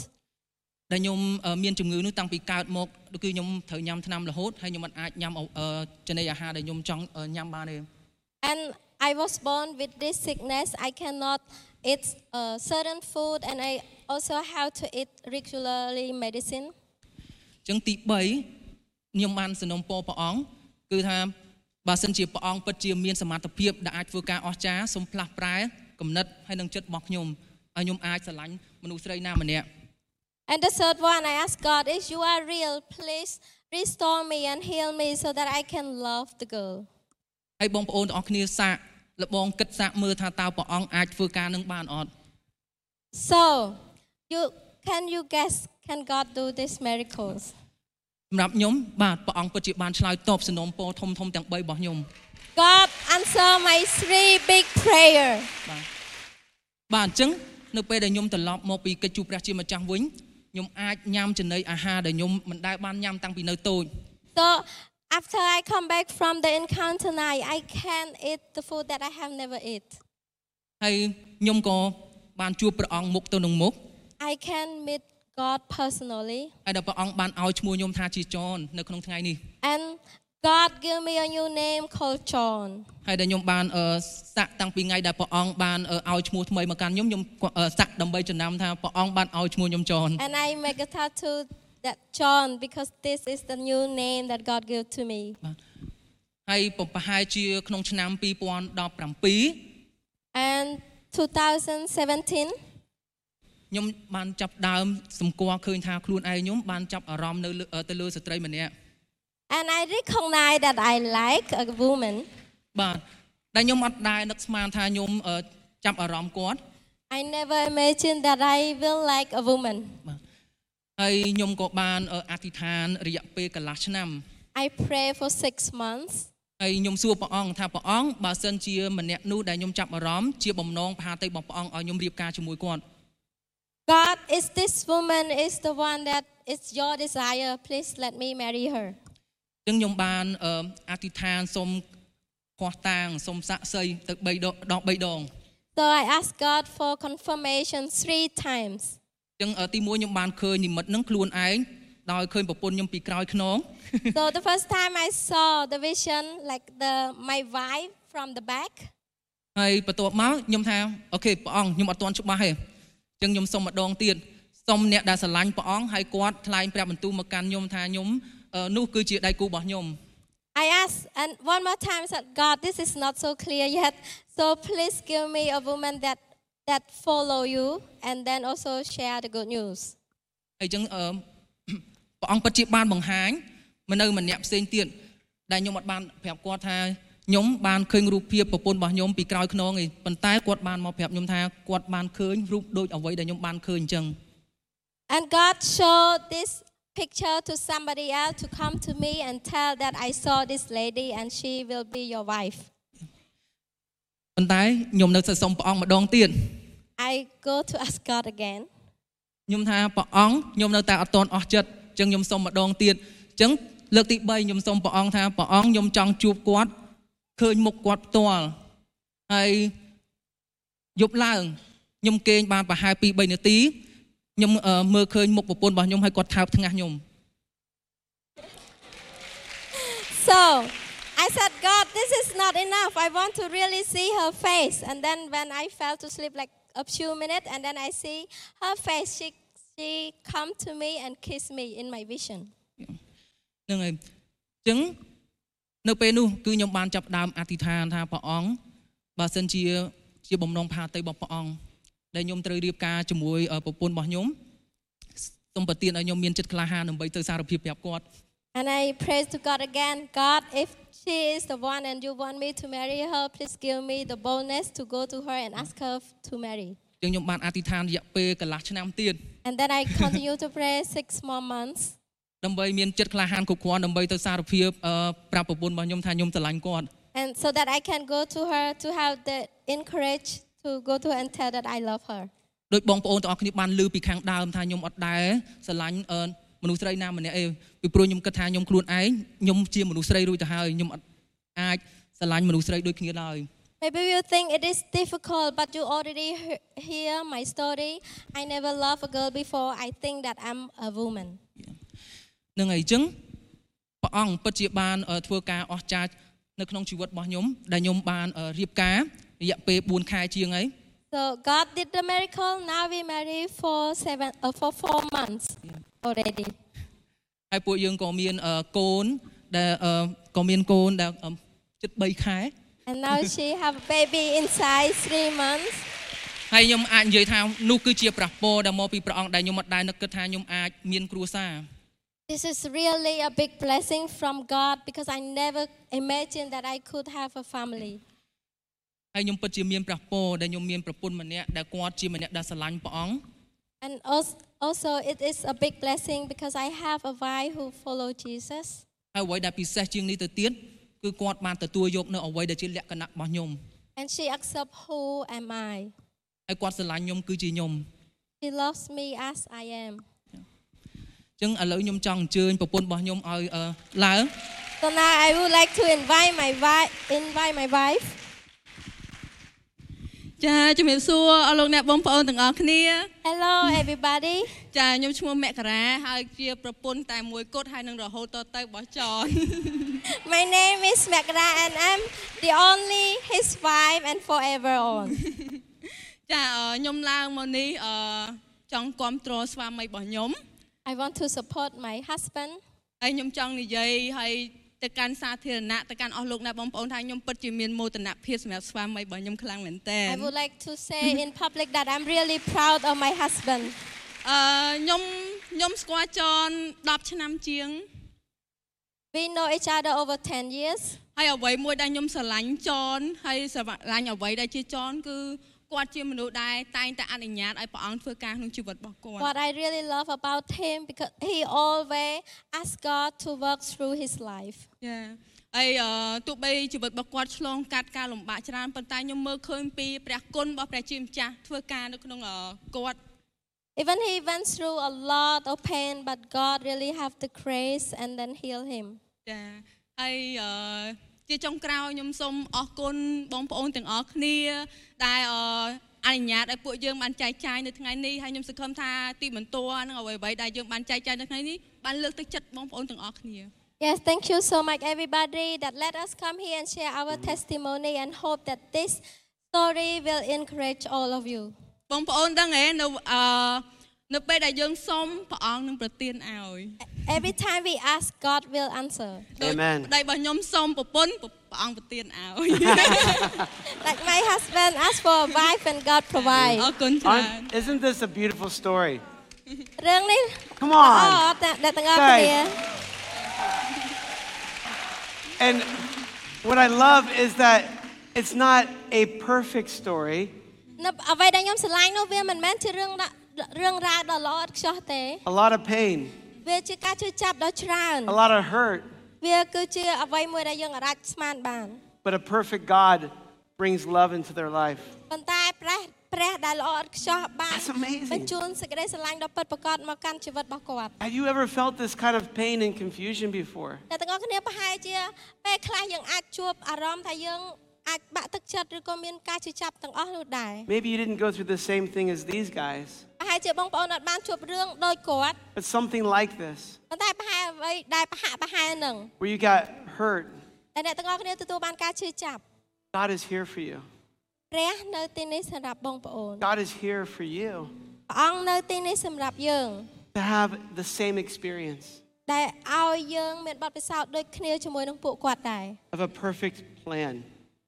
Speaker 5: ដែលខ្ញុំអឺមានជំងឺនោះតាំងពីកើតមកគឺខ្ញុំត្រូវញ៉ាំថ្នាំរហូតហើយខ្ញុំមិនអាចញ៉ាំអអឺចំណីអាហារដែលខ្ញុំចង់អឺញ៉ាំបានទេ
Speaker 4: And I was born with this sickness. I cannot eat uh, certain food, and I also have to eat regularly medicine.
Speaker 5: អញ្ចឹងទី3ខ្ញុំបានសំណូមពរព្រះអង្គគឺថាបើសិនជាព្រះអង្គពិតជាមានសមត្ថភាពដែលអាចធ្វើការអស្ចារ្យសូមផ្លាស់ប្រែគំនិតហើយនឹងចិត្តរបស់ខ្ញុំឲ្យខ្ញុំអាចស្រឡាញ់មនុស្សស្រីណាម្នាក់
Speaker 4: And the third one, I ask God, if you are real, please restore me and heal me so that I can love the girl.
Speaker 5: ហើយបងប្អូនទាំងអស់គ្នាសាកលបងគិតសាកមើលថាតើព្រះអង្គអាចធ្វើការនឹងបានអត់
Speaker 4: So, you can you guess? Can God do these miracles?
Speaker 5: សម្រាប់ខ្ញុំបាទព្រះអង្គពិតជាបានឆ្លើយតបសំណូមពរធំធំទាំង3របស់ខ្ញុំ
Speaker 4: God answer my three big prayer.
Speaker 5: បាទបាទអញ្ចឹងនៅពេលដែលខ្ញុំត្រឡប់មកពីកិច្ចជួបព្រះជាម្ចាស់វិញខ្ញុំអាចញ៉ាំចំណីអាហារដែលខ្ញុំមិនដែលបានញ៉ាំតាំងពីនៅតូច
Speaker 4: So after I come back from the encounter night, I can eat the food that I have never eat.
Speaker 5: ហើយខ្ញុំក៏បានជួបព្រះអង្គមុខទៅនឹងមុខ
Speaker 4: I can meet God personally,
Speaker 5: ហើយដល់ព្រះអង្គបានឲ្យឈ្មោះខ្ញុំថាជាចននៅក្នុងថ្ងៃនេះ
Speaker 4: and God give me a new name called John.
Speaker 5: ហើយដែលខ្ញុំបានអឺសាក់តាំងពីថ្ងៃដែលព្រះអង្គបានអឺឲ្យឈ្មោះថ្មីមកកាន់ខ្ញុំខ្ញុំក៏អឺសាក់ដើម្បីចំណាំថាព្រះអង្គបានឲ្យឈ្មោះខ្ញុំចន
Speaker 4: And I make a tattoo that John because this is the new name that God gave to me.
Speaker 5: ហើយប្រហែលជាក្នុងឆ្នាំ2017
Speaker 4: And 2017,
Speaker 5: ខ្ញុំបានចាប់ផ្ដើមសម្គាល់ឃើញថាខ្លួនឯងខ្ញុំបានចាប់អារម្មណ៍នៅលើទៅលើស្ត្រីម្នាក់
Speaker 4: and I recognize that I like a woman.
Speaker 5: បាទដែលខ្ញុំអត់ដែរនឹកស្មានថាខ្ញុំអឺចាប់អារម្មណ៍គាត់
Speaker 4: I never imagined that I will like a woman.
Speaker 5: បាទហើយខ្ញុំក៏បានអឺអធិដ្ឋានរយៈពេលកន្លះឆ្នាំ
Speaker 4: I pray for six months,
Speaker 5: ហើយខ្ញុំសួរព្រះអង្គថាព្រះអង្គបើសិនជាម្នាក់នោះដែលខ្ញុំចាប់អារម្មណ៍ជាបំណងប្រហាតៃរបស់ព្រះអង្គឲ្យខ្ញុំរៀបការជាមួយគាត់
Speaker 4: God, is this woman is the one that is your desire? Please let me marry her.
Speaker 5: អញ្ចឹងខ្ញុំបានអឺអធិដ្ឋានសូមខោះតាងសូមសាក់សីទៅ3ដងដល់3ដង
Speaker 4: So I asked God for confirmation three times.
Speaker 5: អញ្ចឹងអឺទី1ខ្ញុំបានឃើញនិមិត្តហ្នឹងខ្លួនឯងដោយឃើញប្រពន្ធខ្ញុំពីក្រោយខ្នង
Speaker 4: so the first time I saw the vision, like the my wife from the back,
Speaker 5: ហើយបន្ទាប់មកខ្ញុំថាអូខេព្រះអង្គខ្ញុំអត់ទាន់ច្បាស់ទេអញ្ចឹងខ្ញុំសូមម្ដងទៀតសូមអ្នកដែលស្រឡាញ់ព្រះអង្គហើយគាត់ថ្លែងព្រះបន្ទូលមកកាន់ខ្ញុំថាខ្ញុំអឺនោះគឺជាដៃគូរបស់ខ្ញុំ
Speaker 4: I asked, and one more time I said, God, this is not so clear yet. So please give me a woman that that follow you and then also share the good news.
Speaker 5: ហើយអញ្ចឹងអឺ ព្រះអង្គពិតជាបានបង្ហាញមកនៅម្នាក់ផ្សេងទៀតដែលខ្ញុំអត់បានប្រាប់គាត់ថាខ្ញុំបានឃើញរូបភាពប្រពន្ធរបស់ខ្ញុំពីក្រោយខ្នងឯងប៉ុន្តែគាត់បានមកប្រាប់ខ្ញុំថាគាត់បានឃើញរូបដូចអ្វីដែលខ្ញុំបានឃើញអញ្ចឹង
Speaker 4: And God showed this picture to somebody else to come to me and tell that I saw this lady and she will be your wife.
Speaker 5: ប៉ុន្តែខ្ញុំនៅសរសុំព្រះអង្គម្ដងទៀត
Speaker 4: I go to ask God again.
Speaker 5: ខ្ញុំថាព្រះអង្គខ្ញុំនៅតែអត់ទាន់អស់ចិត្តអញ្ចឹងខ្ញុំសូមម្ដងទៀតអញ្ចឹងលើកទី3ខ្ញុំសូមព្រះអង្គថាព្រះអង្គខ្ញុំចង់ជួបគាត់ឃើញមុខគាត់ផ្ទាល់ហើយយប់ឡើងខ្ញុំគេងបានប្រហែល2 3នាទីខ្ញុំអឺមើលឃើញមុខប្រពន្ធរបស់ខ្ញុំហើយគាត់ថើបថ្ងាស់ខ្ញុំ
Speaker 4: So I said, God, this is not enough. I want to really see her face. And then when I fell to sleep like a few minutes, and then I see her face, she she come to me and kiss me in my vision.
Speaker 5: ហ្នឹងហើយអញ្ចឹងនៅពេលនោះគឺខ្ញុំបានចាប់ផ្ដើមអធិដ្ឋានថាព្រះអង្គបើសិនជាជាបំណងផាតីរបស់ព្រះអង្គដែលខ្ញុំត្រូវរៀបការជាមួយអឺប្រពន្ធរបស់ខ្ញុំសូមប្រទានឲ្យខ្ញុំមានចិត្តក្លាហានដើម្បីទៅសារភាពប្រាប់គាត់
Speaker 4: And I prayed to God again, God, if she is the one and you want me to marry her, please give me the boldness to go to her and ask her to marry.
Speaker 5: អញ្ចឹងខ្ញុំបានអធិដ្ឋានរយៈពេលកន្លះឆ្នាំទៀត
Speaker 4: And then I continued to pray six more months.
Speaker 5: ដើម្បីមានចិត្តក្លាហានគ្រប់គ្រាន់ដើម្បីទៅសារភាពអឺប្រាប់ប្រពន្ធរបស់ខ្ញុំថាខ្ញុំស្រឡាញ់គាត់
Speaker 4: and so that I can go to her to have the encourage to go to her and tell that I love her.
Speaker 5: ដោយបងប្អូនទាំងអស់គ្នាបានលើពីខាងដើមថាខ្ញុំអត់ដែរស្រឡាញ់អឺមនុស្សស្រីណាម្នាក់ឯងពីព្រោះខ្ញុំគិតថាខ្ញុំខ្លួនឯងខ្ញុំជាមនុស្សស្រីរួចទៅហើយខ្ញុំអត់អាចស្រឡាញ់មនុស្សស្រីដូចគ្នាឡើយ
Speaker 4: Maybe you think it is difficult, but you already he- hear my story. I never loved a girl before. I think that I'm a woman.
Speaker 5: នឹងអីចឹងព្រះអង្គពិតជាបានអឺធ្វើការអស្ចារ្យនៅក្នុងជីវិតរបស់ខ្ញុំដែលខ្ញុំបានអឺរៀបការរយៈពេល4ខែជាងហើយ
Speaker 4: So God did the miracle. Now we married for seven, uh, for four months already.
Speaker 5: ហើយពួកយើងក៏មានអឺកូនដែលអឺក៏មានកូនដែលអឺជិត3ខែ
Speaker 4: And now she have a baby inside three months.
Speaker 5: ហើយខ្ញុំអាចនិយាយថានោះគឺជាប្រះពរដែលមកពីព្រះអង្គដែលខ្ញុំអត់ដែរនឹកគិតថាខ្ញុំអាចមានគ្រួសារ
Speaker 4: This is really a big blessing from God because I never imagined that I could have a family.
Speaker 5: ហើយខ្ញុំពិតជាមានព្រះពរដែលខ្ញុំមានប្រពន្ធម្នាក់ដែលគាត់ជាម្នាក់ដែលស្រឡាញ់ព្រះអង្គ
Speaker 4: And als- also, it is a big blessing because I have a wife who follow Jesus.
Speaker 5: ហើយអ្វីដែលពិសេសជាងនេះទៅទៀតគឺគាត់បានទទួលយកនៅអ្វីដែលជាលក្ខណៈរបស់ខ្ញុំ
Speaker 4: And she accepts who am I.
Speaker 5: ហើយគាត់ស្រឡាញ់ខ្ញុំគឺជាខ្ញុំ
Speaker 4: She loves me as I am.
Speaker 5: អញ្ចឹងឥឡូវខ្ញុំចង់អញ្ជើញប្រពន្ធរបស់ខ្ញុំឲ្យអឺឡើង
Speaker 4: So now I would like to invite my wife, invite my wife.
Speaker 6: ចាជំរាបសួរអស់លោកអ្នកបងប្អូនទាំងអស់គ្នា
Speaker 4: Hello, everybody.
Speaker 6: ចាខ្ញុំឈ្មោះមករាហើយជាប្រពន្ធតែមួយគត់ហើយនឹងរហូតតទៅបោះចន
Speaker 4: My name is Megra, and I'm the only his wife and forever on.
Speaker 6: ចាអឺខ្ញុំឡើងមកនេះអឺចង់គ្រប់គ្រងស្វាមីរបស់ខ្ញុំ
Speaker 4: I want to support my husband,
Speaker 6: ហើយខ្ញុំចង់និយាយហើយទៅ
Speaker 5: ទៅកាន់សាធារណៈទៅកាន់អស់លោកអ្នកបងប្អូនថាខ្ញុំពិតជាមានមោទនភាពសម្រាប់ស្វាមីរបស់ខ្ញុំខ្លាំងមែនតើ
Speaker 4: I would like to say in public that I'm really proud of my husband.
Speaker 5: អឺខ្ញុំខ្ញុំស្គាល់ចន10ឆ្នាំជាង
Speaker 4: We know each other over 10 years.
Speaker 5: ហើយអ្វីមួយដែលខ្ញុំស្រឡាញ់ចនហើយស្រឡាញ់អ្វីដែលជាចនគឺគាត់ជាមនុស្សដែលតែងតែអនុញ្ញាតឲ្យព្រះអង្គធ្វើការក្នុងជីវិតរបស់គាត់
Speaker 4: What I really love about him because he always asks God to work through his life.
Speaker 5: ចា៎ហើយអឺទោះបីជីវិតរបស់គាត់ឆ្លងកាត់ការលំបាកច្រើនប៉ុន្តែខ្ញុំមើលឃើញពីព្រះគុណរបស់ព្រះជាម្ចាស់ធ្វើការនៅក្នុងអឺគាត់
Speaker 4: Even he went through a lot of pain, but God really have the grace and then heal him.
Speaker 5: ចា៎ហើយអឺជាចុងក្រោយខ្ញុំសូមអរគុណបងប្អូនទាំងអស់គ្នាដែលអអនុញ្ញាតឲ្យពួកយើងបានចែកចាយនៅថ្ងៃនេះហើយខ្ញុំសង្ឃឹមថាទីបន្ទាល់នឹងអ្វីៗដែលយើងបានចែកចាយនៅថ្ងៃនេះបានលើកទឹកចិត្តបងប្អូនទាំងអស់គ្នា
Speaker 4: Yes, thank you so much, everybody, that let us come here and share our testimony and hope that this story will encourage all of you.
Speaker 5: បងប្អូនដឹងទេនៅអនៅពេលដែលយើងសុំព្រះអង្គនឹងប្រទានឲ្យ
Speaker 4: Every time we ask, God will answer.
Speaker 5: ដោយ
Speaker 3: Amen.
Speaker 5: ប្តីរបស់ខ្ញុំសុំប្រពន្ធព្រះអង្គប្រទាន ឲ្យ
Speaker 4: Like my husband asked for a wife and God
Speaker 5: អ
Speaker 4: provide.
Speaker 5: រគុណច្រើន
Speaker 3: Aren't- Isn't this a beautiful story?
Speaker 4: រឿងនេះ
Speaker 3: Come on.
Speaker 4: ល្អតែអ្នកទាំងអស់
Speaker 3: Thanks.
Speaker 4: គ្នា
Speaker 3: And what I love is that it's not a perfect story.
Speaker 4: នៅអ្វីដែលខ្ញុំស្រឡាញ់នោះវាមិនមែនជារឿងដាក់រឿងរ៉ាវដ៏ល្អឥតខ្ចោះទេ
Speaker 3: A lot of pain,
Speaker 4: វាជាការជឿចាប់ដ៏ច្រើន
Speaker 3: a lot of hurt,
Speaker 4: វាគឺជាអ្វីមួយដែលយើងអាចស្មានបាន
Speaker 3: but a perfect God brings love into their life.
Speaker 4: ប៉ុន្តែព្រះព្រះដែលល្អឥតខ្ចោះបាន
Speaker 3: That's amazing.
Speaker 4: បញ្ជូនសេចក្តីស្រឡាញ់ដ៏ពិតប្រាកដមកកាន់ជីវិតរបស់គាត់
Speaker 3: Have you ever felt this kind of pain and confusion before?
Speaker 4: អ្នកទាំងអស់គ្នាប្រហែលជាពេលខ្លះយើងអាចជួបអារម្មណ៍ថាយើងអាចបាក់ទឹកចិត្តឬក៏មានការជឿចាប់ទាំងអស់នោះដែរ
Speaker 3: Maybe you didn't go through the same thing as these guys,
Speaker 4: ប្រហែលជាបងប្អូនអាចបានជួបរឿងដូចគាត់
Speaker 3: but something like this,
Speaker 4: ប៉ុន្តែប្រហែលអ្វីដែលប្រហាក់ប្រហែលនឹង
Speaker 3: where you got hurt.
Speaker 4: តែលអ្នកទាំងអស់គ្នាទទួលបានការជឿចាប់
Speaker 3: God is here for you.
Speaker 4: ព្រះនៅទីនេះសម្រាប់បងប្អូន
Speaker 3: God is here for you
Speaker 4: ព្រះអង្គនៅទីនេះសម្រាប់យើង
Speaker 3: to have the same experience
Speaker 4: ដែលឲ្យយើងមានបទពិសោធន៍ដូចគ្នាជាមួយនឹងពួកគាត់ដែរ
Speaker 3: of a perfect plan,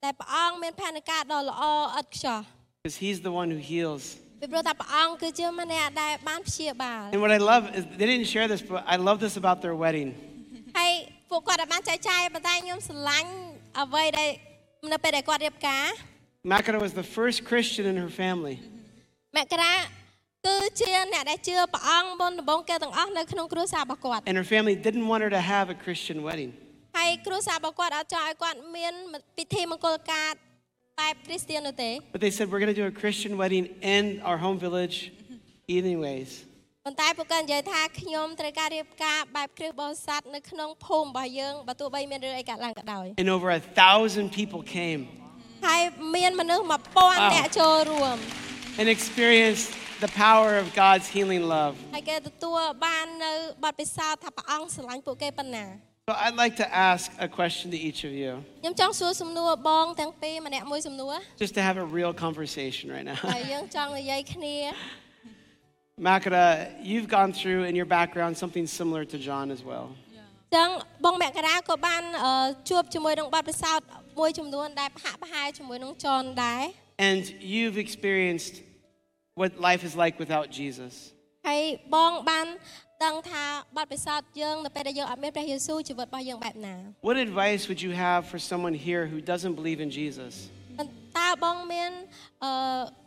Speaker 4: តែព្រះអង្គមានផែនការដ៏ល្អឥតខ្ចោះ
Speaker 3: because He's the one who heals.
Speaker 4: ពីព្រោះថាព្រះអង្គគឺជាម្នាក់ដែលបានព្យាបាល
Speaker 3: And what I love is they didn't share this, but I love this about their wedding.
Speaker 4: ហើយពួកគាត់អាចបានចែកចាយប៉ុន្តែខ្ញុំស្រឡាញ់អ្វីដែលនៅពេលដែលគាត់រៀបការ
Speaker 3: Makara was the first Christian in her family.
Speaker 4: មករាគឺជាអ្នកដែលជឿព្រះអង្គមុនដំបូងគេទាំងអស់នៅក្នុងគ្រួសាររបស់គាត់
Speaker 3: And her family didn't want her to have a Christian wedding.
Speaker 4: ហើយគ្រួសាររបស់គាត់អត់ចង់ឲ្យគាត់មានពិធីមង្គលការបែបគ្រីស្ទាននោះទេ
Speaker 3: But they said, we're going to do a Christian wedding in our home village, anyways.
Speaker 4: ប៉ុន្តែពួកគាត់និយាយថាខ្ញុំត្រូវការរៀបការបែបគ្រីស្ទបរិស័ទនៅក្នុងភូមិរបស់យើងបើទោះបីមានរឿងអីកើតឡើងក៏ដោយ
Speaker 3: And over a thousand people came
Speaker 4: ហើយមានមនុស្ស
Speaker 3: Wow.
Speaker 4: 1000នាក់ចូលរួម
Speaker 3: and experienced the power of God's healing love.
Speaker 4: ហើយគេទទួលបាននៅបទពិសោធន៍ថាព្រះអង្គស្រឡាញ់ពួកគេប៉ុណ្ណា
Speaker 3: So I'd like to ask a question to each of you,
Speaker 4: ខ្ញុំចង់សួរសំណួរបងទាំងពីរម្នាក់មួយសំណួរ
Speaker 3: just to have a real conversation right now.
Speaker 4: ហើយយើងចង់និយាយគ្នា
Speaker 3: Makara, you've gone through in your background something similar to John as well.
Speaker 4: អញ្ចឹងបងមករាក៏បានអឺជួបជាមួយនឹងបទពិសោធន៍មួយចំនួនដែលប្រហាក់ប្រហែលជាមួយនឹងចនដែរ
Speaker 3: And you've experienced what life is like without Jesus.
Speaker 4: ហើយបងបានដឹងថាបទពិសោធន៍យើងនៅពេលដែលយើងអត់មានព្រះយេស៊ូវជីវិតរបស់យើងបែបណា
Speaker 3: What advice would you have for someone here who doesn't believe in Jesus?
Speaker 4: ប៉ុន្តែបងមានអឺ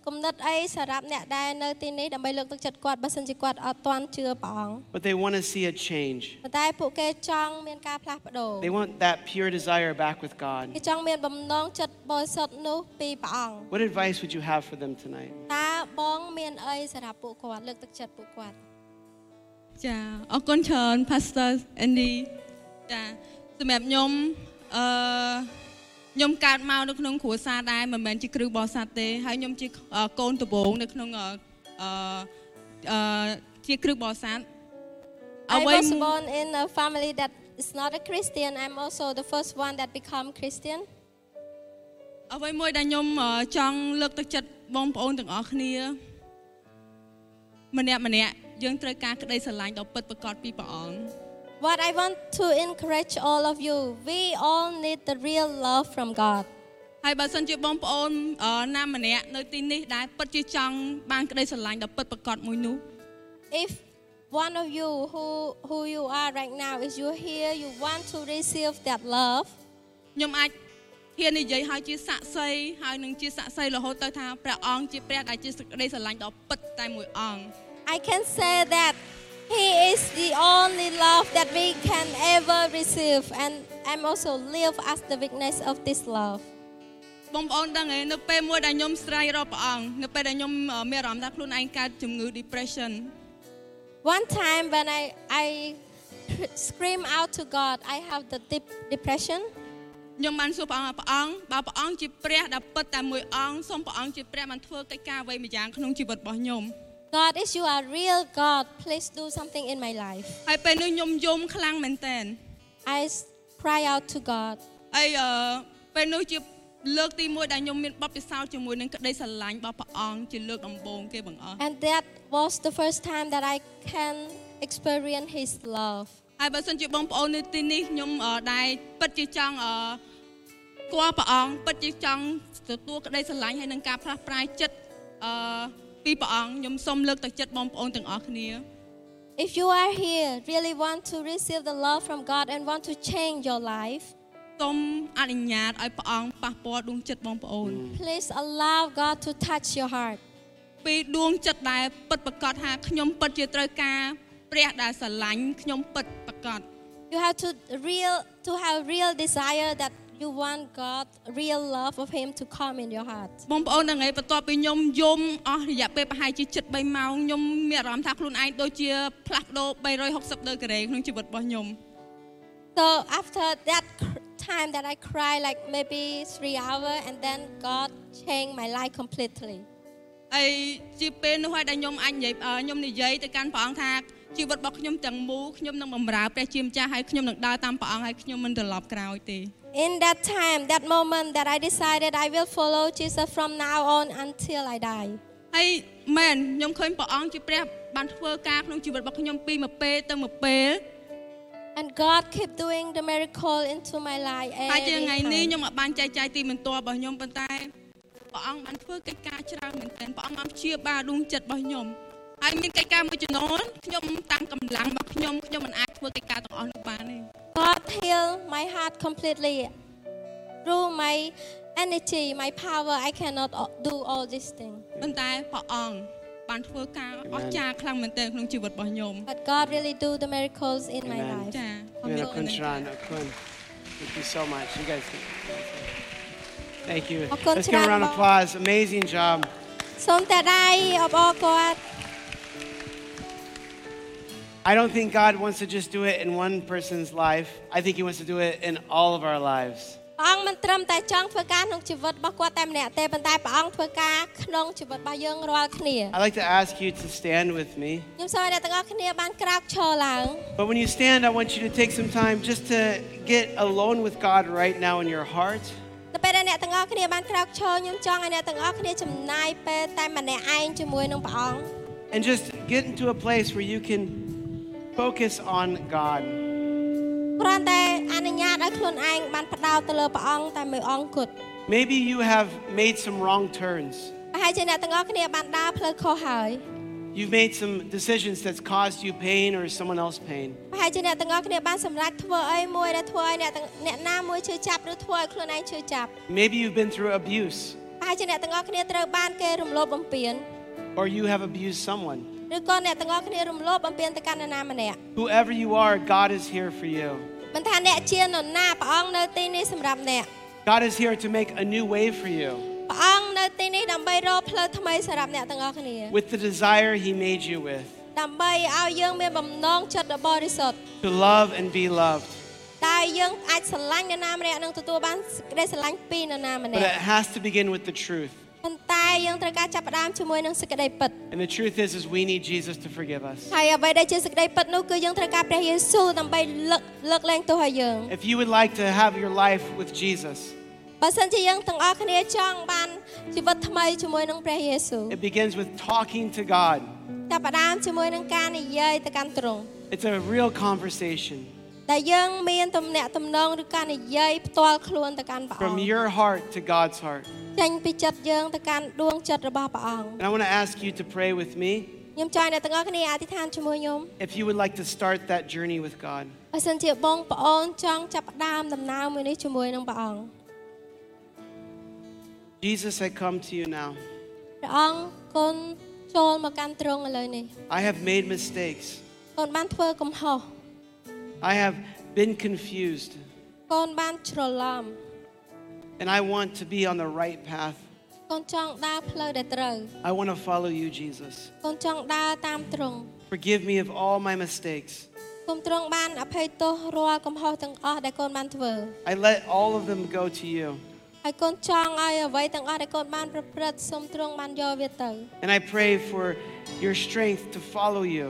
Speaker 4: គំនិតអីសម្រាប់អ្នកដែលនៅទីនេះដើម្បីលើកទឹកចិត្តគាត់បើសិនជាគាត់អត់ទាន់ជឿព្រះអង្គ
Speaker 3: But they want to see a change.
Speaker 4: ប៉ុន្តែពួកគេចង់មានការផ្លាស់ប្ដូរ
Speaker 3: They want that pure desire back with
Speaker 4: គេ
Speaker 3: God.
Speaker 4: ចង់មានបំណងចិត្តបរិសុទ្ធនោះពីព្រះអង្គ
Speaker 3: What advice would you have for them tonight?
Speaker 4: តើបង មានអីសម្រាប់ពួកគាត់លើកទឹកចិត្តពួកគាត់
Speaker 5: ចាអរគុណច្រើន Pastor Andy ចាសម្រាប់ខ្ញុំអឺខ្ញុំកើតមកនៅក្នុងគ្រួសារដែរមិនមែនជាគ្រូបរិស័ទទេហើយខ្ញុំជាអឺកូនដំបូងនៅក្នុងអឺអឺអឺជាគ្រូបរិស័ទ
Speaker 4: I
Speaker 5: អ្វី
Speaker 4: was born in a family that is not a Christian I'm also the first one that become Christian
Speaker 5: អ្វីមួយដែលខ្ញុំអឺចង់លើកទឹកចិត្តបងប្អូនទាំងអស់គ្នាម្នាក់ម្នាក់យើងត្រូវការក្តីស្រឡាញ់ដ៏ពិតប្រាកដពីព្រះអង្គ
Speaker 4: What I want to encourage all of you, we all need the real love from God.
Speaker 5: ហើយបើសិនជាបងប្អូនអឺណាម្នាក់នៅទីនេះដែលពិតជាចង់បានក្តីស្រឡាញ់ដ៏ពិតប្រាកដមួយនោះ
Speaker 4: If one of you who who you are right now, if you're here, you want to receive that love,
Speaker 5: ខ្ញុំអាចហ៊ាននិយាយឲ្យជាសាក់សីហើយនឹងជាសាក់សីរហូតទៅថាព្រះអង្គជាព្រះដែលជាសេចក្តីស្រឡាញ់ដ៏ពិតតែមួយអង្គ
Speaker 4: I can say that He is the only love that we can ever receive, and I'm also live as the witness of this love.
Speaker 5: បងប្អូនដឹងទេនៅពេលមួយដែលខ្ញុំស្រែករកព្រះអង្គនៅពេលដែលខ្ញុំអឺមានអារម្មណ៍ថាខ្លួនឯងកើតជំងឺ depression
Speaker 4: One time when I I scream out to God, I have the deep depression.
Speaker 5: ខ្ញុំបានសួរព្រះអង្គថាព្រះអង្គបើព្រះអង្គជាព្រះដែលពិតតែមួយអង្គសូមព្រះអង្គជាព្រះបានធ្វើកិច្ចការអ្វីម្យ៉ាងក្នុងជីវិតរបស់ខ្ញុំ
Speaker 4: God, if you are real God, please do something in my life.
Speaker 5: ហើយពេលនោះខ្ញុំយំខ្លាំងមែនតើ
Speaker 4: I s- cry out to God.
Speaker 5: ហើយអឺពេលនោះជាលើកទី1ដែលខ្ញុំមានបបពិសោធន៍ជាមួយនឹងក្តីស្រឡាញ់របស់ព្រះអង្គជាលើកដំបូងគេបងអស់
Speaker 4: And that was the first time that I can experience His love.
Speaker 5: ហើយបើសិនជាបងប្អូននៅទីនេះខ្ញុំអឺដែរពិតជាចង់អឺគួរព្រះអង្គពិតជាចង់ទទួលក្តីស្រឡាញ់ហើយនឹងការផ្លាស់ប្រែចិត្តអឺពីព្រះអង្គខ្ញុំសូមលើកទឹកចិត្តបងប្អូនទាំងអស់គ្នា
Speaker 4: If you are here, really want to receive the love from God and want to change your life,
Speaker 5: សូមអនុញ្ញាតឲ្យព្រះអង្គប៉ះពាល់ដួងចិត្តបងប្អូន
Speaker 4: please allow God to touch your heart.
Speaker 5: ពីដួងចិត្តដែលពិតប្រកបថាខ្ញុំពិតជាត្រូវការព្រះដែលស្រឡាញ់ខ្ញុំពិតប្រកប
Speaker 4: You have to real to have real desire that you want God, real love of Him to come in your heart.
Speaker 5: បងប្អូនហ្នឹងឯងបន្ទាប់ពីខ្ញុំយំអស់រយៈពេលប្រហែលជា7ម៉ោងខ្ញុំមានអារម្មណ៍ថាខ្លួនឯងដូចជាផ្លាស់ប្ដូរ360ដឺក្រេក្នុងជីវិតរបស់ខ្ញុំ
Speaker 4: So after that cr- time that I cried like maybe three hours, and then God changed my life completely.
Speaker 5: ហើយជាពេលនោះហើយដែលខ្ញុំអាចនិយាយអឺខ្ញុំនិយាយទៅកាន់ព្រះអង្គថាជីវិតរបស់ខ្ញុំទាំងមូលខ្ញុំនឹងបម្រើព្រះជាម្ចាស់ហើយខ្ញុំនឹងដើរតាមព្រះអង្គហើយខ្ញុំមិនត្រឡប់ក្រោយទេ
Speaker 4: In that time, that moment that I decided I will follow Jesus from now on until I die.
Speaker 5: ហើយមែនខ្ញុំឃើញព្រះអង្គជាព្រះបានធ្វើការក្នុងជីវិតរបស់ខ្ញុំពីមួយពេលទៅមួយពេល
Speaker 4: And God kept doing the miracle into my life.
Speaker 5: តែលជាថ្ងៃ
Speaker 4: Every
Speaker 5: នេះខ្ញុំ
Speaker 4: time.
Speaker 5: អាចបានចែកចាយទីបន្ទាល់របស់ខ្ញុំប៉ុន្តែព្រះអង្គបានធ្វើកិច្ចការច្រើនមែនទែនព្រះអង្គបានព្យាបាលដួងចិត្តរបស់ខ្ញុំហើយមានកិច្ចការមួយចំនួនខ្ញុំតាំងកម្លាំងរបស់ខ្ញុំខ្ញុំមិនអាចធ្វើកិច្ចការទាំងអស់នោះបានទេ
Speaker 4: God healed my heart completely. Through my energy, my power, I cannot o- do all these things.
Speaker 5: ប៉ុន្តែព្រះអង្គបានធ្វើការអស្ចារ្យខ្លាំងមែនទែនក្នុងជីវិតរបស់ខ្ញុំ
Speaker 4: But God really do the miracles in my
Speaker 3: Amen.
Speaker 4: life.
Speaker 5: ចាអរ
Speaker 3: Amen.
Speaker 5: គុណ
Speaker 3: Okun Sharan, Okun. Thank you so much. You guys. Thank you.
Speaker 4: Okun
Speaker 3: Let's give a
Speaker 4: Sharan
Speaker 3: round of
Speaker 4: Bong.
Speaker 3: applause. Amazing job.
Speaker 4: សូមតែដៃអបអរគាត់
Speaker 3: I don't think God wants to just do it in one person's life. I think He wants to do it in all of our lives.
Speaker 4: ព្រះអង្គមិនត្រឹមតែចង់ធ្វើការក្នុងជីវិតរបស់គាត់តែម្នាក់ទេប៉ុន្តែព្រះអង្គធ្វើការក្នុងជីវិតរបស់យើងរាល់គ្នា
Speaker 3: I'd like to ask you to stand with me.
Speaker 4: ខ្ញុំសូមឲ្យអ្នកទាំងអស់គ្នាបានក្រោកឈរឡើង
Speaker 3: But when you stand, I want you to take some time just to get alone with God right now in your heart.
Speaker 4: ទៅពេលដែលអ្នកទាំងអស់គ្នាបានក្រោកឈរខ្ញុំចង់ឲ្យអ្នកទាំងអស់គ្នាចំណាយពេលតែម្នាក់ឯងជាមួយនឹងព្រះអង្គ
Speaker 3: And just get into a place where you can focus on God.
Speaker 4: គ្រាន់តែអនុញ្ញាតឲ្យខ្លួនឯងបានផ្ដោតទៅលើព្រះអង្គតែមួយអង្គគត់
Speaker 3: Maybe you have made some wrong turns.
Speaker 4: ប្រហែលជាអ្នកទាំងអស់គ្នាបានដើរផ្លូវខុសហើយ
Speaker 3: You've made some decisions that's caused you pain or someone else pain.
Speaker 4: ប្រហែលជាអ្នកទាំងអស់គ្នាបានសម្រេចធ្វើអីមួយដែលធ្វើឲ្យអ្នកទាំងអ្នកណាមួយឈឺចាប់ឬធ្វើឲ្យខ្លួនឯងឈឺចាប់
Speaker 3: Maybe you've been through abuse
Speaker 4: ប្រហែលជាអ្នកទាំងអស់គ្នាត្រូវបានគេរំលោភបំពាន
Speaker 3: or you have abused someone.
Speaker 4: ឬក៏អ្នកទាំងអស់គ្នារំលោភបំពានទៅកាន់នរណាម្នាក់
Speaker 3: Whoever you are, God is here for you.
Speaker 4: មិនថាអ្នកជានរណាព្រះអង្គនៅទីនេះសម្រាប់អ្នក
Speaker 3: God is here to make a new way for you
Speaker 4: ព្រះអង្គនៅទីនេះដើម្បីរកផ្លូវថ្មីសម្រាប់អ្នកទាំងអស់គ្នា
Speaker 3: with the desire He made you with
Speaker 4: ដើម្បីឲ្យយើងមានបំណងចិត្តដ៏បរិសុទ្ធ
Speaker 3: to love and be loved.
Speaker 4: ដែលយើងអាចស្រឡាញ់នរណាម្នាក់និងទទួលបានសេចក្តីស្រឡាញ់ពីនរណាម្
Speaker 3: But it
Speaker 4: នាក់
Speaker 3: has to begin with the truth.
Speaker 4: ប៉ុន្តែយើងត្រូវការចាប់ផ្ដើមជាមួយនឹងសេចក្តីពិត
Speaker 3: And the truth is, is we need Jesus to forgive us.
Speaker 4: ហើយអ្វីដែលជាសេចក្តីពិតនោះគឺយើងត្រូវការព្រះយេស៊ូវដើម្បីលើកលើកលែងទោសឲ្យយើង
Speaker 3: If you would like to have your life with Jesus,
Speaker 4: បើសិនជាយើងទាំងអស់គ្នាចង់បានជីវិតថ្មីជាមួយនឹងព្រះយេស៊ូវ
Speaker 3: it begins with talking to God.
Speaker 4: ចាប់ផ្ដើមជាមួយនឹងការនិយាយទៅកាន់ទ្រង់
Speaker 3: It's a real conversation
Speaker 4: ដែលយើងមានទំនាក់ទំនងឬការនិយាយផ្ទាល់ខ្លួនទៅកាន់ព្រះអ
Speaker 3: from
Speaker 4: ង្
Speaker 3: your heart to God's heart.
Speaker 4: គចេញពីចិត្តយើងទៅកាន់ដួងចិត្តរបស់ព្រះអង្គ
Speaker 3: And I want to ask you to pray with me
Speaker 4: ខ្ញុំចង់ឲ្យអ្នកទាំងអស់គ្នាអធិដ្ឋានជាមួយខ្ញុំ
Speaker 3: if you would like to start that journey with God.
Speaker 4: បើសិនជាបងប្អូនចង់ចាប់ផ្ដើមដំណើរមួយនេះជាមួយនឹងព្រះអង្គ
Speaker 3: Jesus, I come to you now.
Speaker 4: ព្រះអង្គគុណចូលមកកាន់ទ្រង់ឥឡូវនេះ
Speaker 3: I have made mistakes.
Speaker 4: កូនបានធ្វើកំហុស
Speaker 3: I have been confused,
Speaker 4: កូនបានច្រឡំ
Speaker 3: and I want to be on the right path.
Speaker 4: កូនចង់ដើរផ្លូវដែលត្រូវ
Speaker 3: I want to follow you, Jesus.
Speaker 4: កូនចង់ដើរតាមទ្រង់
Speaker 3: Forgive me of all my mistakes.
Speaker 4: គុំទ្រង់បានអភ័យទោសរាល់កំហុសទាំងអស់ដែលកូនបានធ្វើ
Speaker 3: I let all of them go to you.
Speaker 4: ហើយកូនចង់ឲ្យអ្វីទាំងអស់ដែលកូនបានប្រព្រឹត្តសូមទ្រង់បានយកវាទៅ
Speaker 3: And I pray for your strength to follow you.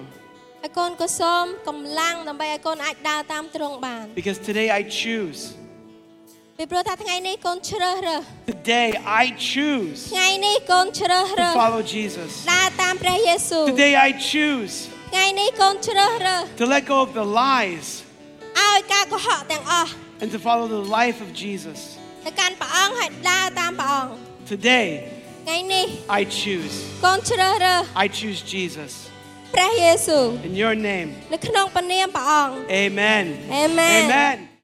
Speaker 4: ហើយកូនក៏សូមកម្លាំងដើម្បីឲ្យកូនអាចដើរតាមទ្រង់បាន
Speaker 3: Because today I choose.
Speaker 4: ពីព្រោះថាថ្ងៃនេះកូនជ្រើសរើស
Speaker 3: Today I choose
Speaker 4: ថ្ងៃនេះកូនជ្រើស
Speaker 3: to
Speaker 4: រើស
Speaker 3: follow Jesus.
Speaker 4: ដើរតាមព្រះយេស៊ូវ
Speaker 3: Today I choose
Speaker 4: ថ្ងៃនេះកូនជ្រើសរើស
Speaker 3: to let go of the lies
Speaker 4: ឲ្យការកុហកទាំងអស់
Speaker 3: and to follow the life of Jesus.
Speaker 4: ទៅកាន់ព្រះអង្គហើយដើរតាមព្រះអង្គ
Speaker 3: Today
Speaker 4: ថ្ងៃនេះ
Speaker 3: I choose.
Speaker 4: កូនជ្រើសរើស
Speaker 3: I choose Jesus.
Speaker 4: ព្រះយេស៊ូវ
Speaker 3: In your name,
Speaker 4: នៅក្នុងព្រះនាមព្រះអង្គ
Speaker 3: amen.
Speaker 4: Amen.
Speaker 3: Amen.